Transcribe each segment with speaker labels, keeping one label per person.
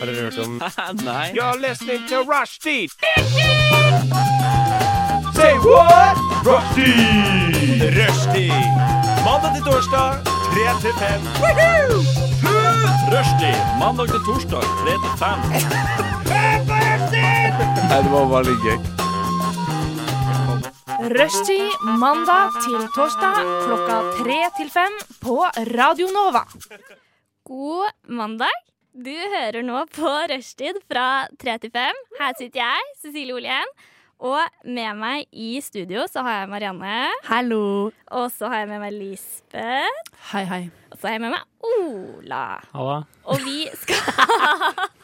Speaker 1: Har dere hørt om
Speaker 2: Nei.
Speaker 3: You're listening to Rushdie. Say what? Rushdie. Rushdie. Mandag til torsdag, 3 til 5.
Speaker 2: Rushdie. Mandag til torsdag, 3 til 5.
Speaker 4: Nei, det var bare litt gøy.
Speaker 5: Rushtid mandag til torsdag klokka tre til fem på Radio Nova.
Speaker 6: God mandag. Du hører nå på rushtid fra 3 til 5. Her sitter jeg, Cecilie Olien. Og med meg i studio så har jeg Marianne.
Speaker 7: Hallo.
Speaker 6: Og så har jeg med meg Lisbeth.
Speaker 7: Hei, hei.
Speaker 6: Og så har jeg med meg Ola.
Speaker 1: Halla.
Speaker 6: Og vi skal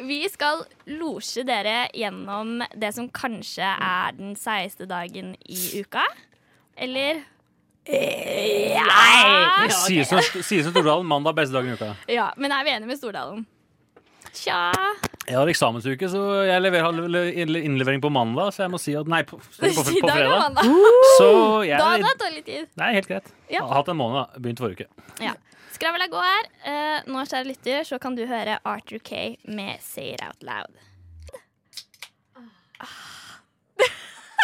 Speaker 6: Vi skal losje dere gjennom det som kanskje er den seigeste dagen i uka. Eller
Speaker 7: Eh,
Speaker 6: Nei!
Speaker 1: Sier som sier som Stordalen, mandag beste dagen i uka.
Speaker 6: Ja, men er vi enige med Stordalen? Tja
Speaker 1: Jeg har eksamensuke, så jeg leverer, har le- le- innlevering på mandag, så jeg må si at Nei, på, sorry, på,
Speaker 6: I
Speaker 1: på, på
Speaker 6: dag er
Speaker 1: fredag.
Speaker 6: mandag.
Speaker 1: Så
Speaker 6: Da hadde
Speaker 1: jeg
Speaker 6: det tatt litt tid.
Speaker 1: Nei, helt greit. Jeg
Speaker 6: Ja.
Speaker 1: har hatt en måned, da. Begynt forrige uke.
Speaker 6: Ja. Skravla går. Eh, nå, kjære lytter, så kan du høre Arthur Kay med 'Say It Out Loud'.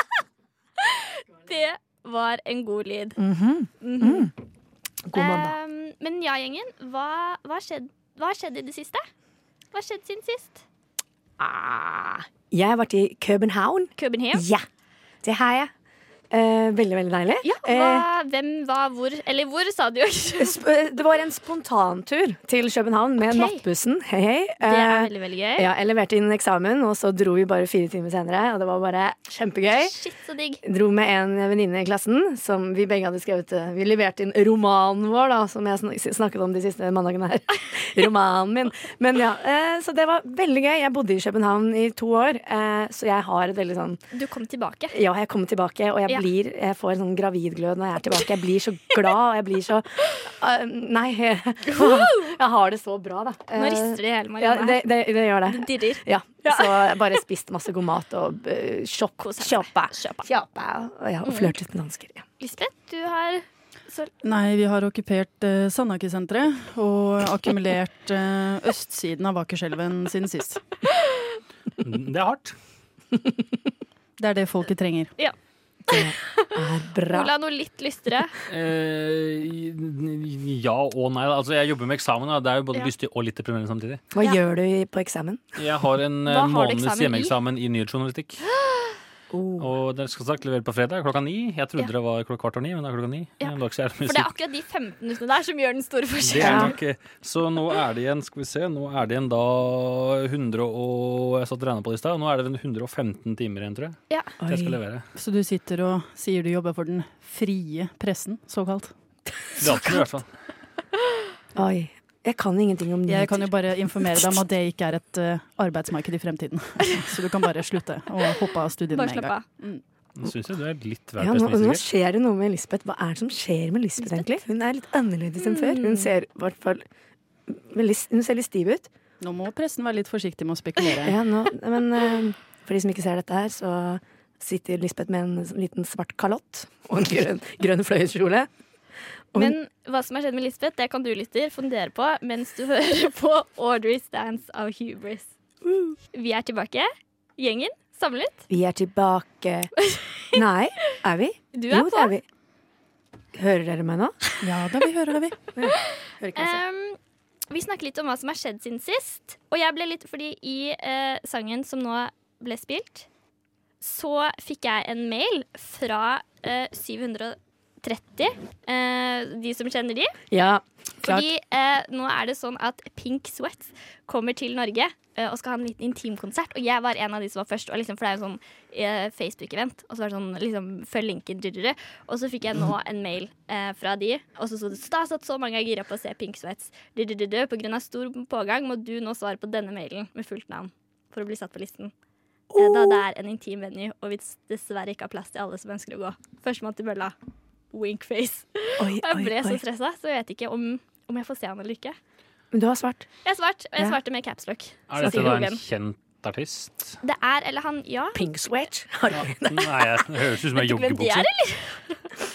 Speaker 6: Det var en god lyd. Mhm.
Speaker 7: God mandag.
Speaker 6: Eh, men ja, gjengen. Hva hva har skjedd, hva har skjedd i det siste? Hva har skjedd siden sist?
Speaker 7: Jeg har vært i København.
Speaker 6: København?
Speaker 7: Ja, det har jeg. Eh, veldig, veldig deilig.
Speaker 6: Ja,
Speaker 7: Eh,
Speaker 6: hva, hvem, hva, hvor? Eller hvor, sa du jo ikke.
Speaker 7: sp- eh, det var en spontantur til København med
Speaker 6: Ok.
Speaker 7: nattbussen. Hei, hei.
Speaker 6: Det
Speaker 7: Eh,
Speaker 6: er veldig, veldig gøy.
Speaker 7: ja, jeg leverte inn eksamen, og så dro vi bare fire timer senere. Og det var bare kjempegøy.
Speaker 6: Shit, så digg.
Speaker 7: Dro med en venninne i klassen som vi begge hadde skrevet eh, Vi leverte inn romanen vår, da, som jeg snak- snakket om de siste mandagene her. Romanen min. Men ja, eh, Så det var veldig gøy. Jeg bodde i København i to år, eh, så jeg har et veldig sånn
Speaker 6: Du kom tilbake.
Speaker 7: Ja, jeg kommer tilbake, og jeg,
Speaker 6: Ja.
Speaker 7: blir, jeg får en sånn gravidglød når jeg er tilbake. Jeg blir så glad, og jeg blir så eh, Nei. Jeg har det så bra, da. Eh,
Speaker 6: Nå rister det i hele
Speaker 7: ja,
Speaker 6: Marianne.
Speaker 7: det, det, det gjør det.
Speaker 6: dirrer.
Speaker 7: Ja. Så jeg bare spiste masse god mat og eh, shop,
Speaker 6: Koset seg.
Speaker 7: shoppa.
Speaker 6: Shoppa.
Speaker 7: Shoppa. Og, ja, og flørtet med dansker. Ja.
Speaker 6: Lisbeth, du har
Speaker 8: Nei, vi har okkupert eh, Sandaker-senteret og akkumulert eh, østsiden av Akerselven siden sist.
Speaker 1: Det er hardt.
Speaker 8: Det er det folket trenger.
Speaker 7: Er bra.
Speaker 6: Ola noe litt lystere.
Speaker 1: Eh, ja og nei. da. Altså, jeg jobber med eksamen. Da. Det er jo både
Speaker 6: Ja.
Speaker 1: lystig og litt deprimerende samtidig.
Speaker 7: Hva
Speaker 6: Ja.
Speaker 7: gjør du i- på eksamen?
Speaker 1: Jeg har en eh,
Speaker 6: Hva har du
Speaker 1: måneds
Speaker 6: eksamen i?
Speaker 1: hjemmeeksamen i nyhetsjournalistikk. Og det skal sagt levert på fredag klokka ni. Jeg trodde
Speaker 6: Ja.
Speaker 1: det var klokka kvart over ni, men det er klokka ni.
Speaker 6: Ja.
Speaker 1: Men det er ikke så jævlig mye
Speaker 6: For det er akkurat de 15 minuttene der som gjør den store
Speaker 1: Det er
Speaker 6: forskjellen.
Speaker 1: nok, eh, så nå er det igjen, skal vi se, nå er det igjen da 100 og Jeg satt og regna på det i stad, nå er det vel 115 timer igjen, tror jeg.
Speaker 6: Ja.
Speaker 1: Til jeg skal levere.
Speaker 8: Så du sitter og sier du jobber for den frie pressen, såkalt.
Speaker 1: Det er alltid, i hvert fall.
Speaker 7: Oi. Jeg kan ingenting om nyheter.
Speaker 8: Jeg kan jo bare informere deg om at det ikke er et eh, arbeidsmarked i fremtiden. Så du kan bare slutte å hoppe av studiene
Speaker 6: Bare
Speaker 8: med en
Speaker 6: slapp
Speaker 8: gang.
Speaker 6: av.
Speaker 1: Nå syns jeg du er litt
Speaker 7: ja,
Speaker 1: vel
Speaker 7: nå, nå
Speaker 1: pessimistisk.
Speaker 7: skjer det noe med Lisbeth. Hva er det som skjer med Lisbeth, egentlig? Hun er litt annerledes enn før. Hun ser i hvert fall veldig, Hun ser litt stiv ut.
Speaker 8: Nå må pressen være litt forsiktig med å spekulere.
Speaker 7: Ja, nå, men eh, for de som ikke ser dette her, så sitter Lisbeth med en sånn liten svart kalott og en grønn, grønn fløyelskjole. Og hun-
Speaker 6: Men hva som har skjedd med Lisbeth, det kan du lytter fundere på mens du hører på Audrey Stands av Hubris. Vi er tilbake. Gjengen samlet.
Speaker 7: vi er tilbake. Nei, er vi?
Speaker 6: Du er
Speaker 7: jo, det
Speaker 6: på.
Speaker 7: er vi. Hører dere meg nå?
Speaker 8: Ja da, vi hører det, vi.
Speaker 7: Hører ikke meg selv.
Speaker 6: Em, vi snakker litt om hva som har skjedd siden sist. Og jeg ble litt fordi i eh, sangen som nå ble spilt, så fikk jeg en mail fra eh, 730. Eh, de som kjenner de.
Speaker 7: Ja, klart.
Speaker 6: Fordi eh, nå er det sånn at Pink Sweats kommer til Norge eh, og skal ha en liten intimkonsert. Og jeg var en av de som var først. Og liksom, for det er jo sånn eh, Facebook-event. Og så var det sånn liksom, følg linken. Dyrere. Og så fikk jeg nå en mail eh, fra de. Og så sto det stas at så mange er gira på å se Pink Sweats. Dyrere. På grunn av stor pågang må du nå svare på denne mailen med fullt navn for å bli satt på listen. Eh, Da det er en intim venue, og vi dessverre ikke har plass til alle som ønsker å gå. Førstemann til mølla. Wink face.
Speaker 7: Oi,
Speaker 6: Og jeg
Speaker 7: oi,
Speaker 6: ble så
Speaker 7: oi.
Speaker 6: stressa, så jeg vet ikke om, om jeg får se han eller ikke.
Speaker 7: Men du har svart.
Speaker 6: Jeg svarte, og jeg
Speaker 7: Ja.
Speaker 6: svarte med caps lock.
Speaker 1: Er
Speaker 6: Så
Speaker 1: dette
Speaker 6: jeg
Speaker 1: da
Speaker 6: fikk
Speaker 1: en
Speaker 6: jobben.
Speaker 1: kjent artist?
Speaker 6: Det er, eller han, ja.
Speaker 7: Pink sweat. Har du-
Speaker 1: Nei, jeg det høres ut som ei
Speaker 6: Vet du hvem de
Speaker 1: joggebukse.
Speaker 6: er, eller?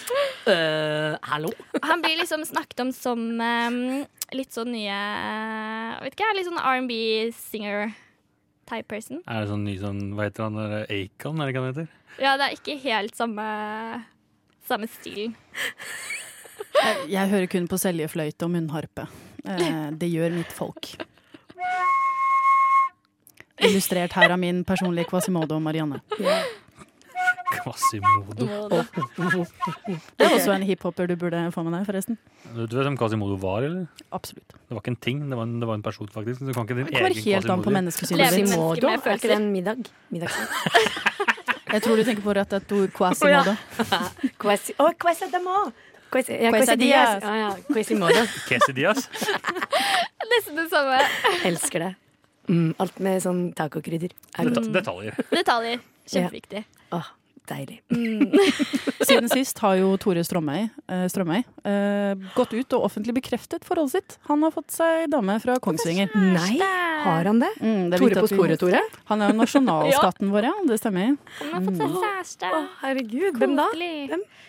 Speaker 7: Eh, hallo?
Speaker 6: Han blir liksom snakket om som eh, litt sånn nye eh, Vet ikke, jeg, litt sånn R&B-singer-type person.
Speaker 1: Er det sånn ny sånn, hva heter han, er det Acon, eller hva han heter?
Speaker 6: Ja, det er ikke helt samme samme stilen.
Speaker 8: Jeg, jeg hører kun på seljefløyte og munnharpe. Eh, det gjør mitt folk. Illustrert her av min personlige Quasimodo Marianne.
Speaker 1: Quasimodo.
Speaker 8: Det er også en hiphoper du burde få med deg, forresten.
Speaker 1: Du vet hvem Quasimodo var, eller?
Speaker 8: Absolutt.
Speaker 1: Det var ikke en ting, det var en, det var en person, faktisk. Du kan ikke din
Speaker 8: Det kommer
Speaker 1: egen
Speaker 8: helt an på
Speaker 1: Quasimodo.
Speaker 8: menneskesynet ditt.
Speaker 6: mennesker med
Speaker 7: er ikke det en middag? middag.
Speaker 8: Jeg tror du tenker på rett et ord Quasimodo.
Speaker 7: Quasi, oh, quasi demo. Quasi, ja, quesadillas.
Speaker 8: Quesadillas.
Speaker 7: Ja, ja, Quasimodo.
Speaker 1: Quesadillas.
Speaker 6: Nesten det samme.
Speaker 7: Elsker det. Mm, alt med sånn tacokrydder. er godt.
Speaker 1: Det- Detaljer.
Speaker 6: Detaljer. Kjempeviktig.
Speaker 7: Åh, deilig.
Speaker 8: Siden sist har jo Tore Strømøy, eh, Strømøy eh, gått ut og offentlig bekreftet forholdet sitt. Han har fått seg dame fra Kongsvinger.
Speaker 7: Nei, har han det?
Speaker 8: Mm, det er viktig
Speaker 7: Tore
Speaker 8: at
Speaker 7: på
Speaker 8: vi-
Speaker 7: sporet, Tore?
Speaker 8: Han er jo nasjonalskatten vår, ja. Det stemmer.
Speaker 6: Han har fått seg kjæreste.
Speaker 7: herregud,
Speaker 6: Koselig.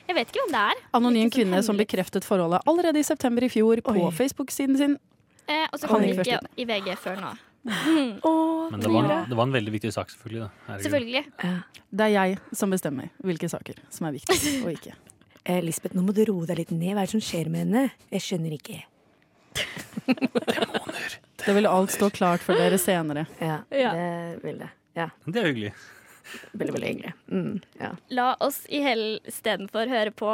Speaker 6: Jeg vet ikke hvem det er.
Speaker 8: Anonym kvinne som bekreftet forholdet allerede i september i fjor på
Speaker 7: Oi.
Speaker 8: Facebook-siden sin.
Speaker 6: Eh, og så
Speaker 8: Han
Speaker 6: kom
Speaker 8: gikk
Speaker 6: det ikke i VG før nå.
Speaker 7: Åh,
Speaker 1: Men det var, en, det var en veldig viktig sak, selvfølgelig. Da. Herregud.
Speaker 6: Selvfølgelig.
Speaker 8: Det er jeg som bestemmer hvilke saker som er viktige og ikke.
Speaker 7: Eh, Lisbeth, nå må du roe deg litt ned. Hva er det som skjer med henne? Jeg skjønner ikke.
Speaker 8: Det vil alt stå klart for dere senere.
Speaker 7: Ja,
Speaker 6: Ja.
Speaker 7: det vil det. Ja,
Speaker 1: Det er hyggelig.
Speaker 7: veldig, veldig hyggelig. Mm, ja.
Speaker 6: La oss i hell istedenfor høre på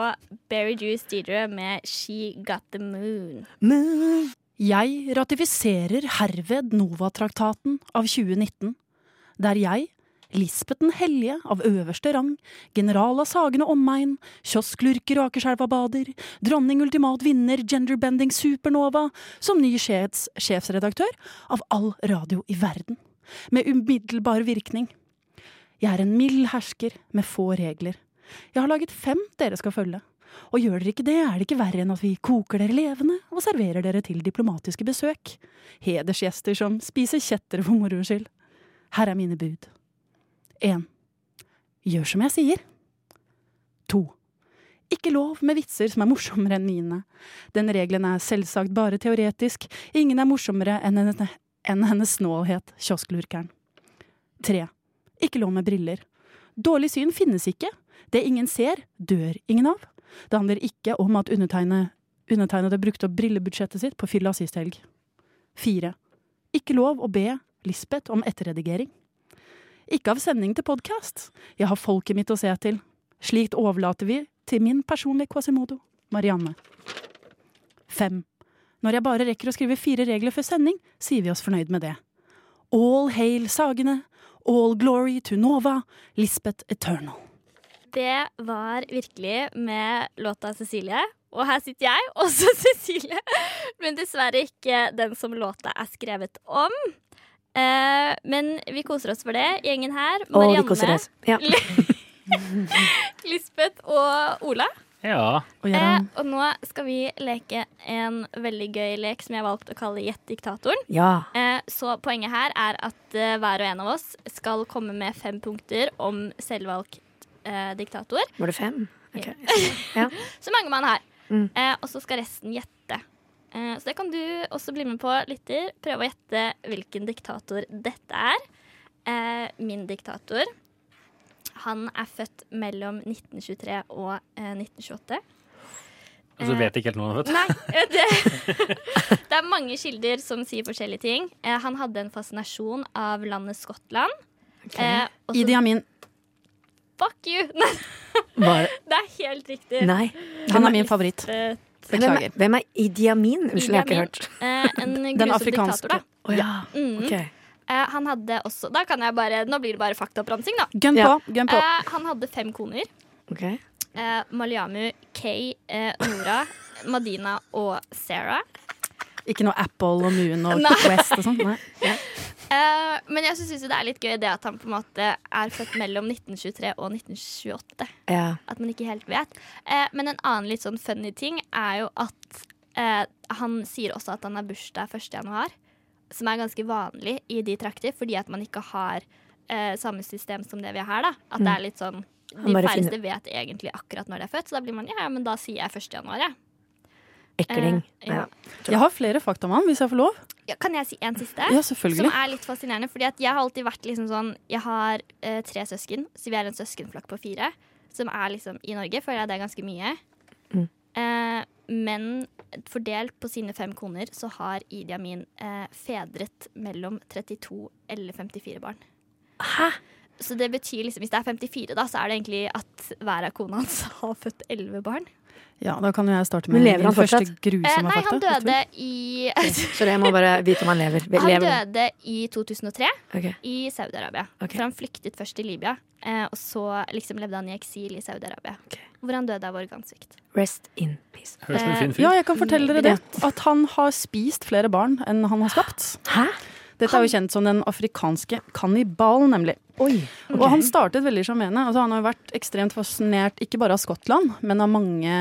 Speaker 6: Berry Juice Deedre med She Got The Moon.
Speaker 7: Men,
Speaker 8: Jeg ratifiserer herved Nova-traktaten av 2019, der jeg, Lisbeth den hellige av øverste rang, general av Sagen og omegn, kiosklurker og Akerselva bader, dronning ultimat vinner genderbending supernova, som ny sjefs sjefsredaktør av all radio i verden, med umiddelbar virkning. Jeg er en mild hersker med få regler. Jeg har laget fem dere skal følge. Og gjør dere ikke det, er det ikke verre enn at vi koker dere levende og serverer dere til diplomatiske besøk. Hedersgjester som spiser kjettere for moro skyld. Her er mine bud. 1. Gjør som jeg sier. 2. Ikke lov med vitser som er morsommere enn mine. Den regelen er selvsagt bare teoretisk. Ingen er morsommere enn hennes, enn hennes snålhet, kiosklurkeren. 3. Ikke lov med briller. Dårlig syn finnes ikke. Det ingen ser, dør ingen av. Det handler ikke om at undertegne, undertegnede brukte opp brillebudsjettet sitt på fylla sist helg. Fire. Ikke lov å be Lisbeth om etterredigering. Ikke av sending til podkast. Jeg har folket mitt å se til. Slikt overlater vi til min personlige Quasimodo, Marianne. Fem. Når jeg bare rekker å skrive fire regler før sending, sier vi oss fornøyd med det. All hail Sagene. All glory to Nova. Lisbeth Eternal.
Speaker 6: Det var virkelig med låta Cecilie. Og her sitter jeg, også Cecilie, men dessverre ikke den som låta er skrevet om. Eh, men vi koser oss for det, gjengen her.
Speaker 7: Å, vi koser oss. Ja.
Speaker 6: Lisbeth og Ola.
Speaker 1: Ja.
Speaker 8: Og
Speaker 6: Eh,
Speaker 8: Gøran,
Speaker 6: og nå skal vi leke en veldig gøy lek som jeg har valgt å kalle Gjett diktatoren.
Speaker 7: ja.
Speaker 6: Eh, så poenget her er at eh, hver og en av oss skal komme med fem punkter om selvvalgt eh, diktator.
Speaker 7: Var det fem? Ok.
Speaker 6: Så mange man har.
Speaker 7: Mm.
Speaker 6: Eh, og så skal resten gjette. Eh, så det kan du også bli med på, lytter. Prøve å gjette hvilken diktator dette er. Eh, min diktator. Han er født mellom 1923 og eh, 1928.
Speaker 1: Og så Altså, vet jeg ikke helt noe om det.
Speaker 6: Nei, eh, det, det er mange kilder som sier forskjellige ting. Eh, han hadde en fascinasjon av landet Skottland. Eh, og så
Speaker 8: Idi Amin.
Speaker 6: fuck you! Nei,
Speaker 7: Var det?
Speaker 6: det er helt riktig.
Speaker 7: Nei.
Speaker 8: Han er min favoritt.
Speaker 6: Eh,
Speaker 7: Hvem
Speaker 8: Beklager.
Speaker 7: er, hvem er Idi Amin? Unnskyld, jeg har ikke
Speaker 6: Idi Amin.
Speaker 7: hørt.
Speaker 6: eh, en
Speaker 8: Den
Speaker 6: grusom diktator, da.
Speaker 8: afrikanske.
Speaker 7: Å ja.
Speaker 6: Mm.
Speaker 7: Ok.
Speaker 6: Eh, han hadde også Da kan jeg bare Nå blir det bare faktaoppramsing, da.
Speaker 8: Gønn på.
Speaker 7: Ja.
Speaker 8: Gønn på.
Speaker 6: Eh, han hadde fem koner.
Speaker 7: Ok.
Speaker 6: Eh, Malyamu, Kay, eh, Nora, Madina og Sarah.
Speaker 8: Ikke noe Apple og Moon og
Speaker 6: Nei.
Speaker 8: West og sånn. Nei.
Speaker 6: Eh, men jeg syns det er litt gøy det at han på en måte er født mellom 1923 og 1928.
Speaker 7: Ja.
Speaker 6: At man ikke helt vet. Eh, men en annen litt sånn funny ting er jo at eh, han sier også at han har bursdag 1. januar. Som er ganske vanlig i de trakter, fordi at man ikke har eh, samme system som det vi har her. da At det er litt sånn De
Speaker 7: bare
Speaker 6: færreste vet egentlig akkurat når de er født, så da blir man ja, ja, men da sier jeg 1. januar, jeg.
Speaker 7: Ekling.
Speaker 6: Eh, ja.
Speaker 7: Ja.
Speaker 8: Jeg har flere faktamann, hvis jeg får lov.
Speaker 6: Ja, kan jeg si en siste?
Speaker 8: Ja,
Speaker 6: Eh, Som
Speaker 8: selvfølgelig.
Speaker 6: er litt fascinerende. Fordi at jeg har alltid vært liksom sånn Jeg har eh, tre søsken, så vi er en søskenflokk på fire. Som er liksom i Norge, føler jeg det er ganske mye.
Speaker 7: Mm.
Speaker 6: Eh, men fordelt på sine fem koner, så har Idi Amin eh, fedret mellom 32 eller 54 barn.
Speaker 7: Hæ?
Speaker 6: Så det betyr liksom, hvis det er 54, da, så er det egentlig at hver av kona hans har født 11 barn.
Speaker 8: Ja, da kan jo jeg starte
Speaker 7: Men
Speaker 8: med
Speaker 7: lever
Speaker 8: min
Speaker 7: han
Speaker 8: første
Speaker 7: fortsatt?
Speaker 6: Eh,
Speaker 8: grusomme
Speaker 6: nei, han
Speaker 8: fakta.
Speaker 6: døde i
Speaker 7: Sorry, jeg må bare vite om han lever. Vi-
Speaker 6: Han
Speaker 7: lever.
Speaker 6: døde i 2003.
Speaker 7: Ok.
Speaker 6: I Saudi-Arabia.
Speaker 7: Ok.
Speaker 6: For han flyktet først til Libya, eh, og så liksom levde han i eksil i Saudi-Arabia.
Speaker 7: Ok.
Speaker 6: Hvor han døde av organsvikt.
Speaker 7: Rest in peace.
Speaker 1: Høres ut som en
Speaker 6: Eh,
Speaker 1: fin fyr.
Speaker 8: Ja, jeg kan fortelle dere det. At han har spist flere barn enn han har skapt.
Speaker 7: Hæ?
Speaker 8: Dette er jo kjent som den afrikanske kannibalen, nemlig.
Speaker 7: Oi.
Speaker 8: Og han startet veldig sjarmerende. Altså, han har jo vært ekstremt fascinert ikke bare av Skottland, men av mange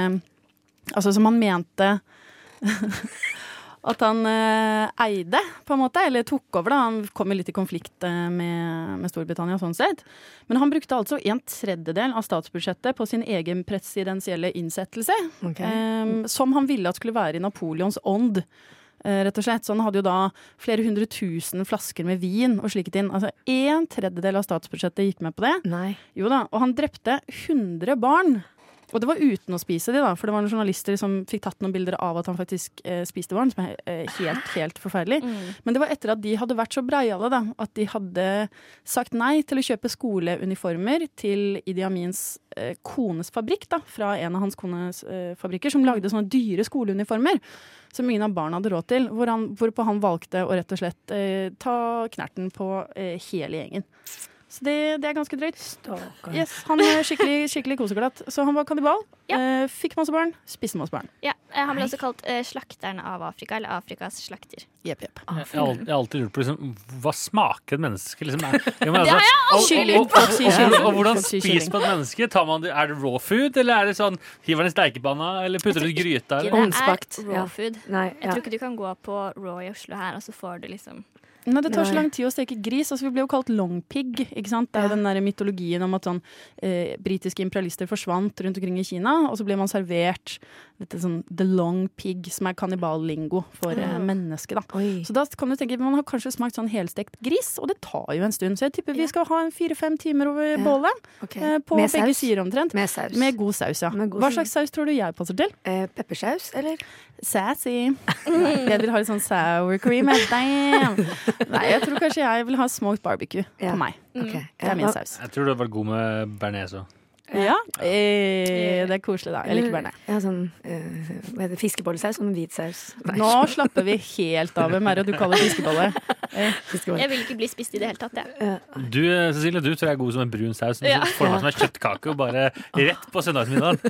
Speaker 8: Altså som han mente at han eh, eide, på en måte. Eller tok over, da. Han kom jo litt i konflikt eh, med, med Storbritannia sånn sett. Men han brukte altså en tredjedel av statsbudsjettet på sin egen presidensielle innsettelse.
Speaker 7: Ok.
Speaker 8: Ehm, som han ville at skulle være i Napoleons ånd. eh, Rett og slett. Så han hadde jo da flere hundre tusen flasker med vin og slikt inn. Altså En tredjedel av statsbudsjettet gikk med på det.
Speaker 7: Nei.
Speaker 8: Jo da, Og han drepte 100 barn. Og det var uten å spise de, da. For det var noen journalister som fikk tatt noen bilder av at han faktisk eh, spiste barn. Som er eh, helt, helt forferdelig.
Speaker 6: Mm.
Speaker 8: Men det var etter at de hadde vært så breiale da, at de hadde sagt nei til å kjøpe skoleuniformer til Idi Amins eh, kones fabrikk, da, fra en av hans kones eh, fabrikker, som lagde sånne dyre skoleuniformer som ingen av barna hadde råd til. Hvor han, hvorpå han valgte å rett og slett eh, ta knerten på eh, hele gjengen. Så det, det er ganske drøyt. Yes, han er skikkelig, skikkelig koseglatt. Så han var kannibal. Eh, fikk masse barn, spiste masse barn.
Speaker 6: Ja, eh, han ble også kalt eh, slakteren av Afrika, eller Afrikas slakter.
Speaker 8: Jepp, jepp.
Speaker 7: Ah,
Speaker 1: Jeg har al- jeg har alltid lurt på liksom, hva smaker et menneske? Liksom, er, ja, men,
Speaker 6: Det har jeg
Speaker 1: og-
Speaker 6: aldri
Speaker 1: og-
Speaker 6: lurt på.
Speaker 1: og- og- og- og- Og hvordan
Speaker 8: Folk sier
Speaker 1: spiser man et menneske? Tar man det, er det raw food, eller er det sånn, hiver den i stekepanna, eller putter det i gryta?
Speaker 6: Det
Speaker 1: Eller?
Speaker 7: Ovnsbakt,
Speaker 6: er raw
Speaker 7: ja.
Speaker 6: food.
Speaker 7: Nei,
Speaker 6: Jeg
Speaker 7: ja.
Speaker 6: tror ikke du kan gå på Raw i Oslo her, og så får du liksom
Speaker 8: Nei, det tar så
Speaker 7: Nei.
Speaker 8: lang tid å steke gris. Altså, vi ble jo kalt longpig. Ikke sant? Det er jo
Speaker 7: Ja.
Speaker 8: den der mytologien om at sånn, eh, britiske imperialister forsvant rundt omkring i Kina, og så ble man servert dette sånn the long pig, som er kanniballingo for
Speaker 7: Ah.
Speaker 8: eh, mennesket. Da.
Speaker 7: Oi.
Speaker 8: Så da kan du tenke, Man har kanskje smakt sånn helstekt gris, og det tar jo en stund. Så jeg tipper vi skal ha en fire-fem timer over bålet.
Speaker 7: Ok.
Speaker 8: Eh, på
Speaker 7: Med
Speaker 8: begge
Speaker 7: saus?
Speaker 8: sider omtrent.
Speaker 7: Med saus.
Speaker 8: Med god saus, ja.
Speaker 7: Med god
Speaker 8: Hva
Speaker 7: saus.
Speaker 8: slags saus tror du jeg passer til?
Speaker 7: eh, peppersaus, eller?
Speaker 8: Sassy. Jeg vil ha litt sånn sour cream. eh, Damn. Nei, jeg tror kanskje jeg vil ha smoked barbecue
Speaker 7: Ja.
Speaker 8: på meg.
Speaker 6: Mm.
Speaker 7: Ok,
Speaker 8: Det
Speaker 7: ja.
Speaker 8: er min saus.
Speaker 1: Jeg tror du hadde vært god med bearnés òg.
Speaker 8: Ja. Eh, det er koselig, da. Jeg liker bearnés.
Speaker 7: Ja, sånn eh, hva heter det, fiskebollesaus og hvit saus. Nei,
Speaker 8: Nå slapper vi helt av. Hvem er det du kaller fiskebolle?
Speaker 7: fiskebolle.
Speaker 6: Jeg vil ikke bli spist i det hele tatt, jeg.
Speaker 1: Du eh, Cecilie, du tror jeg er god som en brun saus.
Speaker 6: Ja.
Speaker 1: Ja. Forma som en kjøttkake og bare rett på søndagsmiddagen.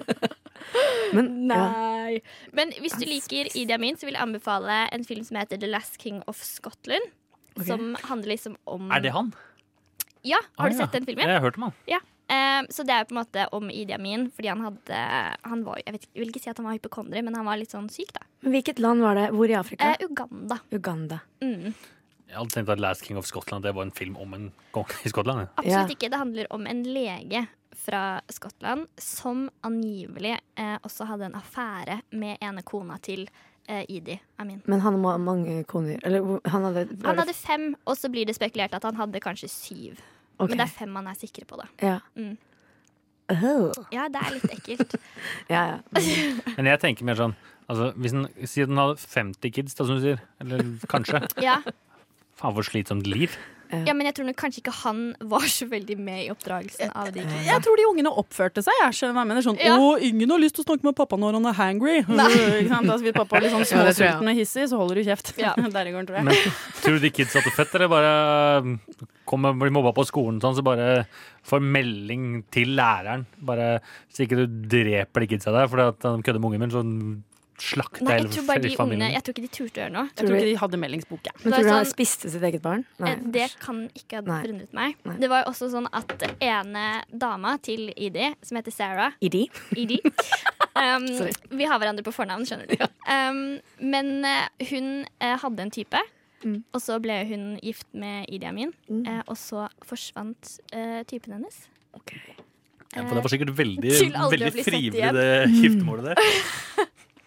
Speaker 7: Men, ja.
Speaker 6: Nei. Men hvis du liker Idi Amin, så vil jeg anbefale en film som heter The Last King of Scotland.
Speaker 7: Ok.
Speaker 6: Som handler liksom om
Speaker 1: Er det han?
Speaker 6: Ja, har
Speaker 1: Ah,
Speaker 6: du
Speaker 1: ja.
Speaker 6: sett den filmen?
Speaker 1: Jeg har hørt om han.
Speaker 6: Eh, så det er på en måte om Idi Amin, fordi han hadde han var, jeg, vet, ikke- jeg vil ikke si at han var hypokondri, men han var litt sånn syk, da.
Speaker 7: Men hvilket land var det? Hvor i Afrika?
Speaker 6: Eh, Uganda.
Speaker 7: Uganda.
Speaker 6: Mm.
Speaker 1: Jeg hadde tenkt at Last King of Scotland Det var en film om en konge i Skottland. jeg.
Speaker 6: Absolutt
Speaker 7: Ja.
Speaker 6: ikke. Det handler om en lege fra Skottland som angivelig eh, også hadde en affære med ene kona til eh, Idi Amin.
Speaker 7: Men han må ha mange koner. Eller hvor- han hadde
Speaker 6: Han hadde fem, og så blir det spekulert at han hadde kanskje syv.
Speaker 7: Ok,
Speaker 6: Men det er fem man er sikre på, da.
Speaker 7: ja.
Speaker 6: Mm.
Speaker 7: Oh.
Speaker 6: Ja, det er litt ekkelt.
Speaker 7: ja, ja.
Speaker 1: Men jeg tenker mer sånn altså, hvis den, Si at den hadde 50 kids, da, som du sier. Eller kanskje.
Speaker 6: Ja.
Speaker 1: Faen, for slitsomt liv.
Speaker 6: ja, Men jeg tror nok kanskje ikke han var så veldig med i oppdragelsen av de kidsa.
Speaker 8: Jeg tror de ungene oppførte seg. Jeg skjønner hva jeg mener. Sånn,
Speaker 6: Ja.
Speaker 8: Å, ingen har lyst til å snakke med pappa når han er hangry. Ikke sant? Altså, hvis pappa er litt sånn
Speaker 7: Ja, det tror jeg.
Speaker 8: småsulten og hissig, så holder du kjeft.
Speaker 6: Ja.
Speaker 8: Der i går, tror jeg.
Speaker 1: Men tror du de kidsa til fett, eller bare eh, kom og blir mobba på skolen sånn, så bare får melding til læreren? Bare så ikke du dreper de kidsa der fordi at de kødder med ungen min, så slakter
Speaker 6: Nei,
Speaker 1: jeg
Speaker 6: jeg tror bare de
Speaker 1: hele
Speaker 6: ungene
Speaker 1: familien.
Speaker 6: Jeg tror ikke de turte å gjøre noe.
Speaker 8: Jeg tror ikke de hadde meldingsbok. jeg.
Speaker 7: Men
Speaker 6: Det
Speaker 7: tror
Speaker 6: er
Speaker 7: du han
Speaker 6: sånn-
Speaker 7: spiste sitt eget barn? Nei.
Speaker 6: Eh, Det kan ikke ha
Speaker 7: Nei.
Speaker 6: forundret meg.
Speaker 7: Nei.
Speaker 6: Det var jo også sånn at ene dama til Idi, som heter Sarah
Speaker 7: Idi?
Speaker 6: Idi um, Vi har hverandre på fornavn, skjønner du. Um, men eh, hun eh, hadde en type,
Speaker 7: Mm.
Speaker 6: og så ble hun gift med Idi Amin. eh, og så forsvant eh, typen hennes.
Speaker 7: Ok.
Speaker 1: Ja, for det var sikkert veldig,
Speaker 6: Til eh, aldri å
Speaker 1: veldig
Speaker 6: bli sett
Speaker 1: frivillig,
Speaker 6: igjen. Mm.
Speaker 1: det giftermålet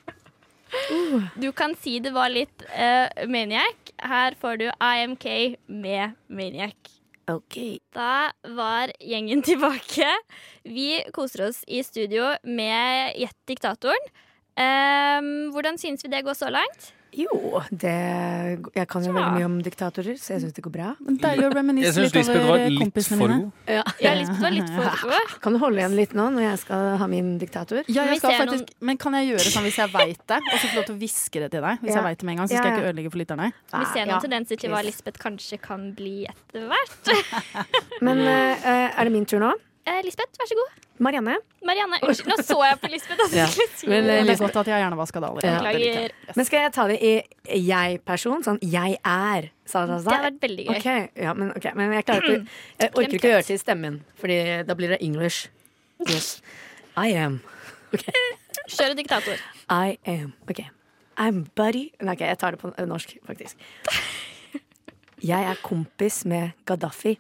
Speaker 1: der.
Speaker 6: Du kan si det var litt eh, Maniac. Her får du IMK med Maniac.
Speaker 7: Ok.
Speaker 6: Da var gjengen tilbake. Vi koser oss i studio med Gjett diktatoren. Ehm, hvordan synes vi det går så langt?
Speaker 7: Jo, det Jeg kan jo
Speaker 6: Ja.
Speaker 7: veldig mye om diktatorer, så jeg syns det går bra.
Speaker 8: Deilig å reminisce litt over eh, kompisene mine.
Speaker 6: Ja, Lisbeth var litt for god.
Speaker 7: Kan du holde igjen litt nå, når jeg skal ha min diktator?
Speaker 8: Ja,
Speaker 6: Men
Speaker 8: jeg
Speaker 6: hvis
Speaker 8: skal
Speaker 6: jeg er noen-
Speaker 8: faktisk, men kan jeg gjøre sånn hvis jeg veit det? Og så få lov til å hviske det til deg? Hvis
Speaker 7: Ja.
Speaker 8: jeg vet det med en gang, så
Speaker 7: Ja,
Speaker 8: skal jeg
Speaker 7: ja.
Speaker 8: ikke ødelegge for lytterne.
Speaker 6: Vi ser noen
Speaker 7: Ah, Ja.
Speaker 6: tendenser til hva
Speaker 7: please.
Speaker 6: Lisbeth kanskje kan bli etter hvert.
Speaker 7: Men eh, eh, er det min tur nå?
Speaker 6: Eh, Lisbeth, vær så god.
Speaker 7: Marianne.
Speaker 6: Marianne, unnskyld, nå så jeg på Lisbeth. at
Speaker 7: Ja.
Speaker 6: jeg skulle si
Speaker 7: Men,
Speaker 6: det.
Speaker 7: eh,
Speaker 8: Men det er godt at jeg har hjernevaska det allerede.
Speaker 7: Ja.
Speaker 8: Det liker
Speaker 6: Beklager.
Speaker 8: jeg.
Speaker 7: Men skal jeg ta det i jeg-person? Sånn jeg er. Sa, sa,
Speaker 6: Det
Speaker 7: sa.
Speaker 6: har vært veldig gøy.
Speaker 7: Ok, ja, men, ok, men jeg, klarer ikke, jeg orker ikke å gjøre til stemmen, Fordi da blir det English. Yes. I am.
Speaker 6: Kjør en diktator.
Speaker 7: I am. Ok. I'm buddy Nei, ok, jeg tar det på norsk, faktisk. Jeg er kompis med Gaddafi.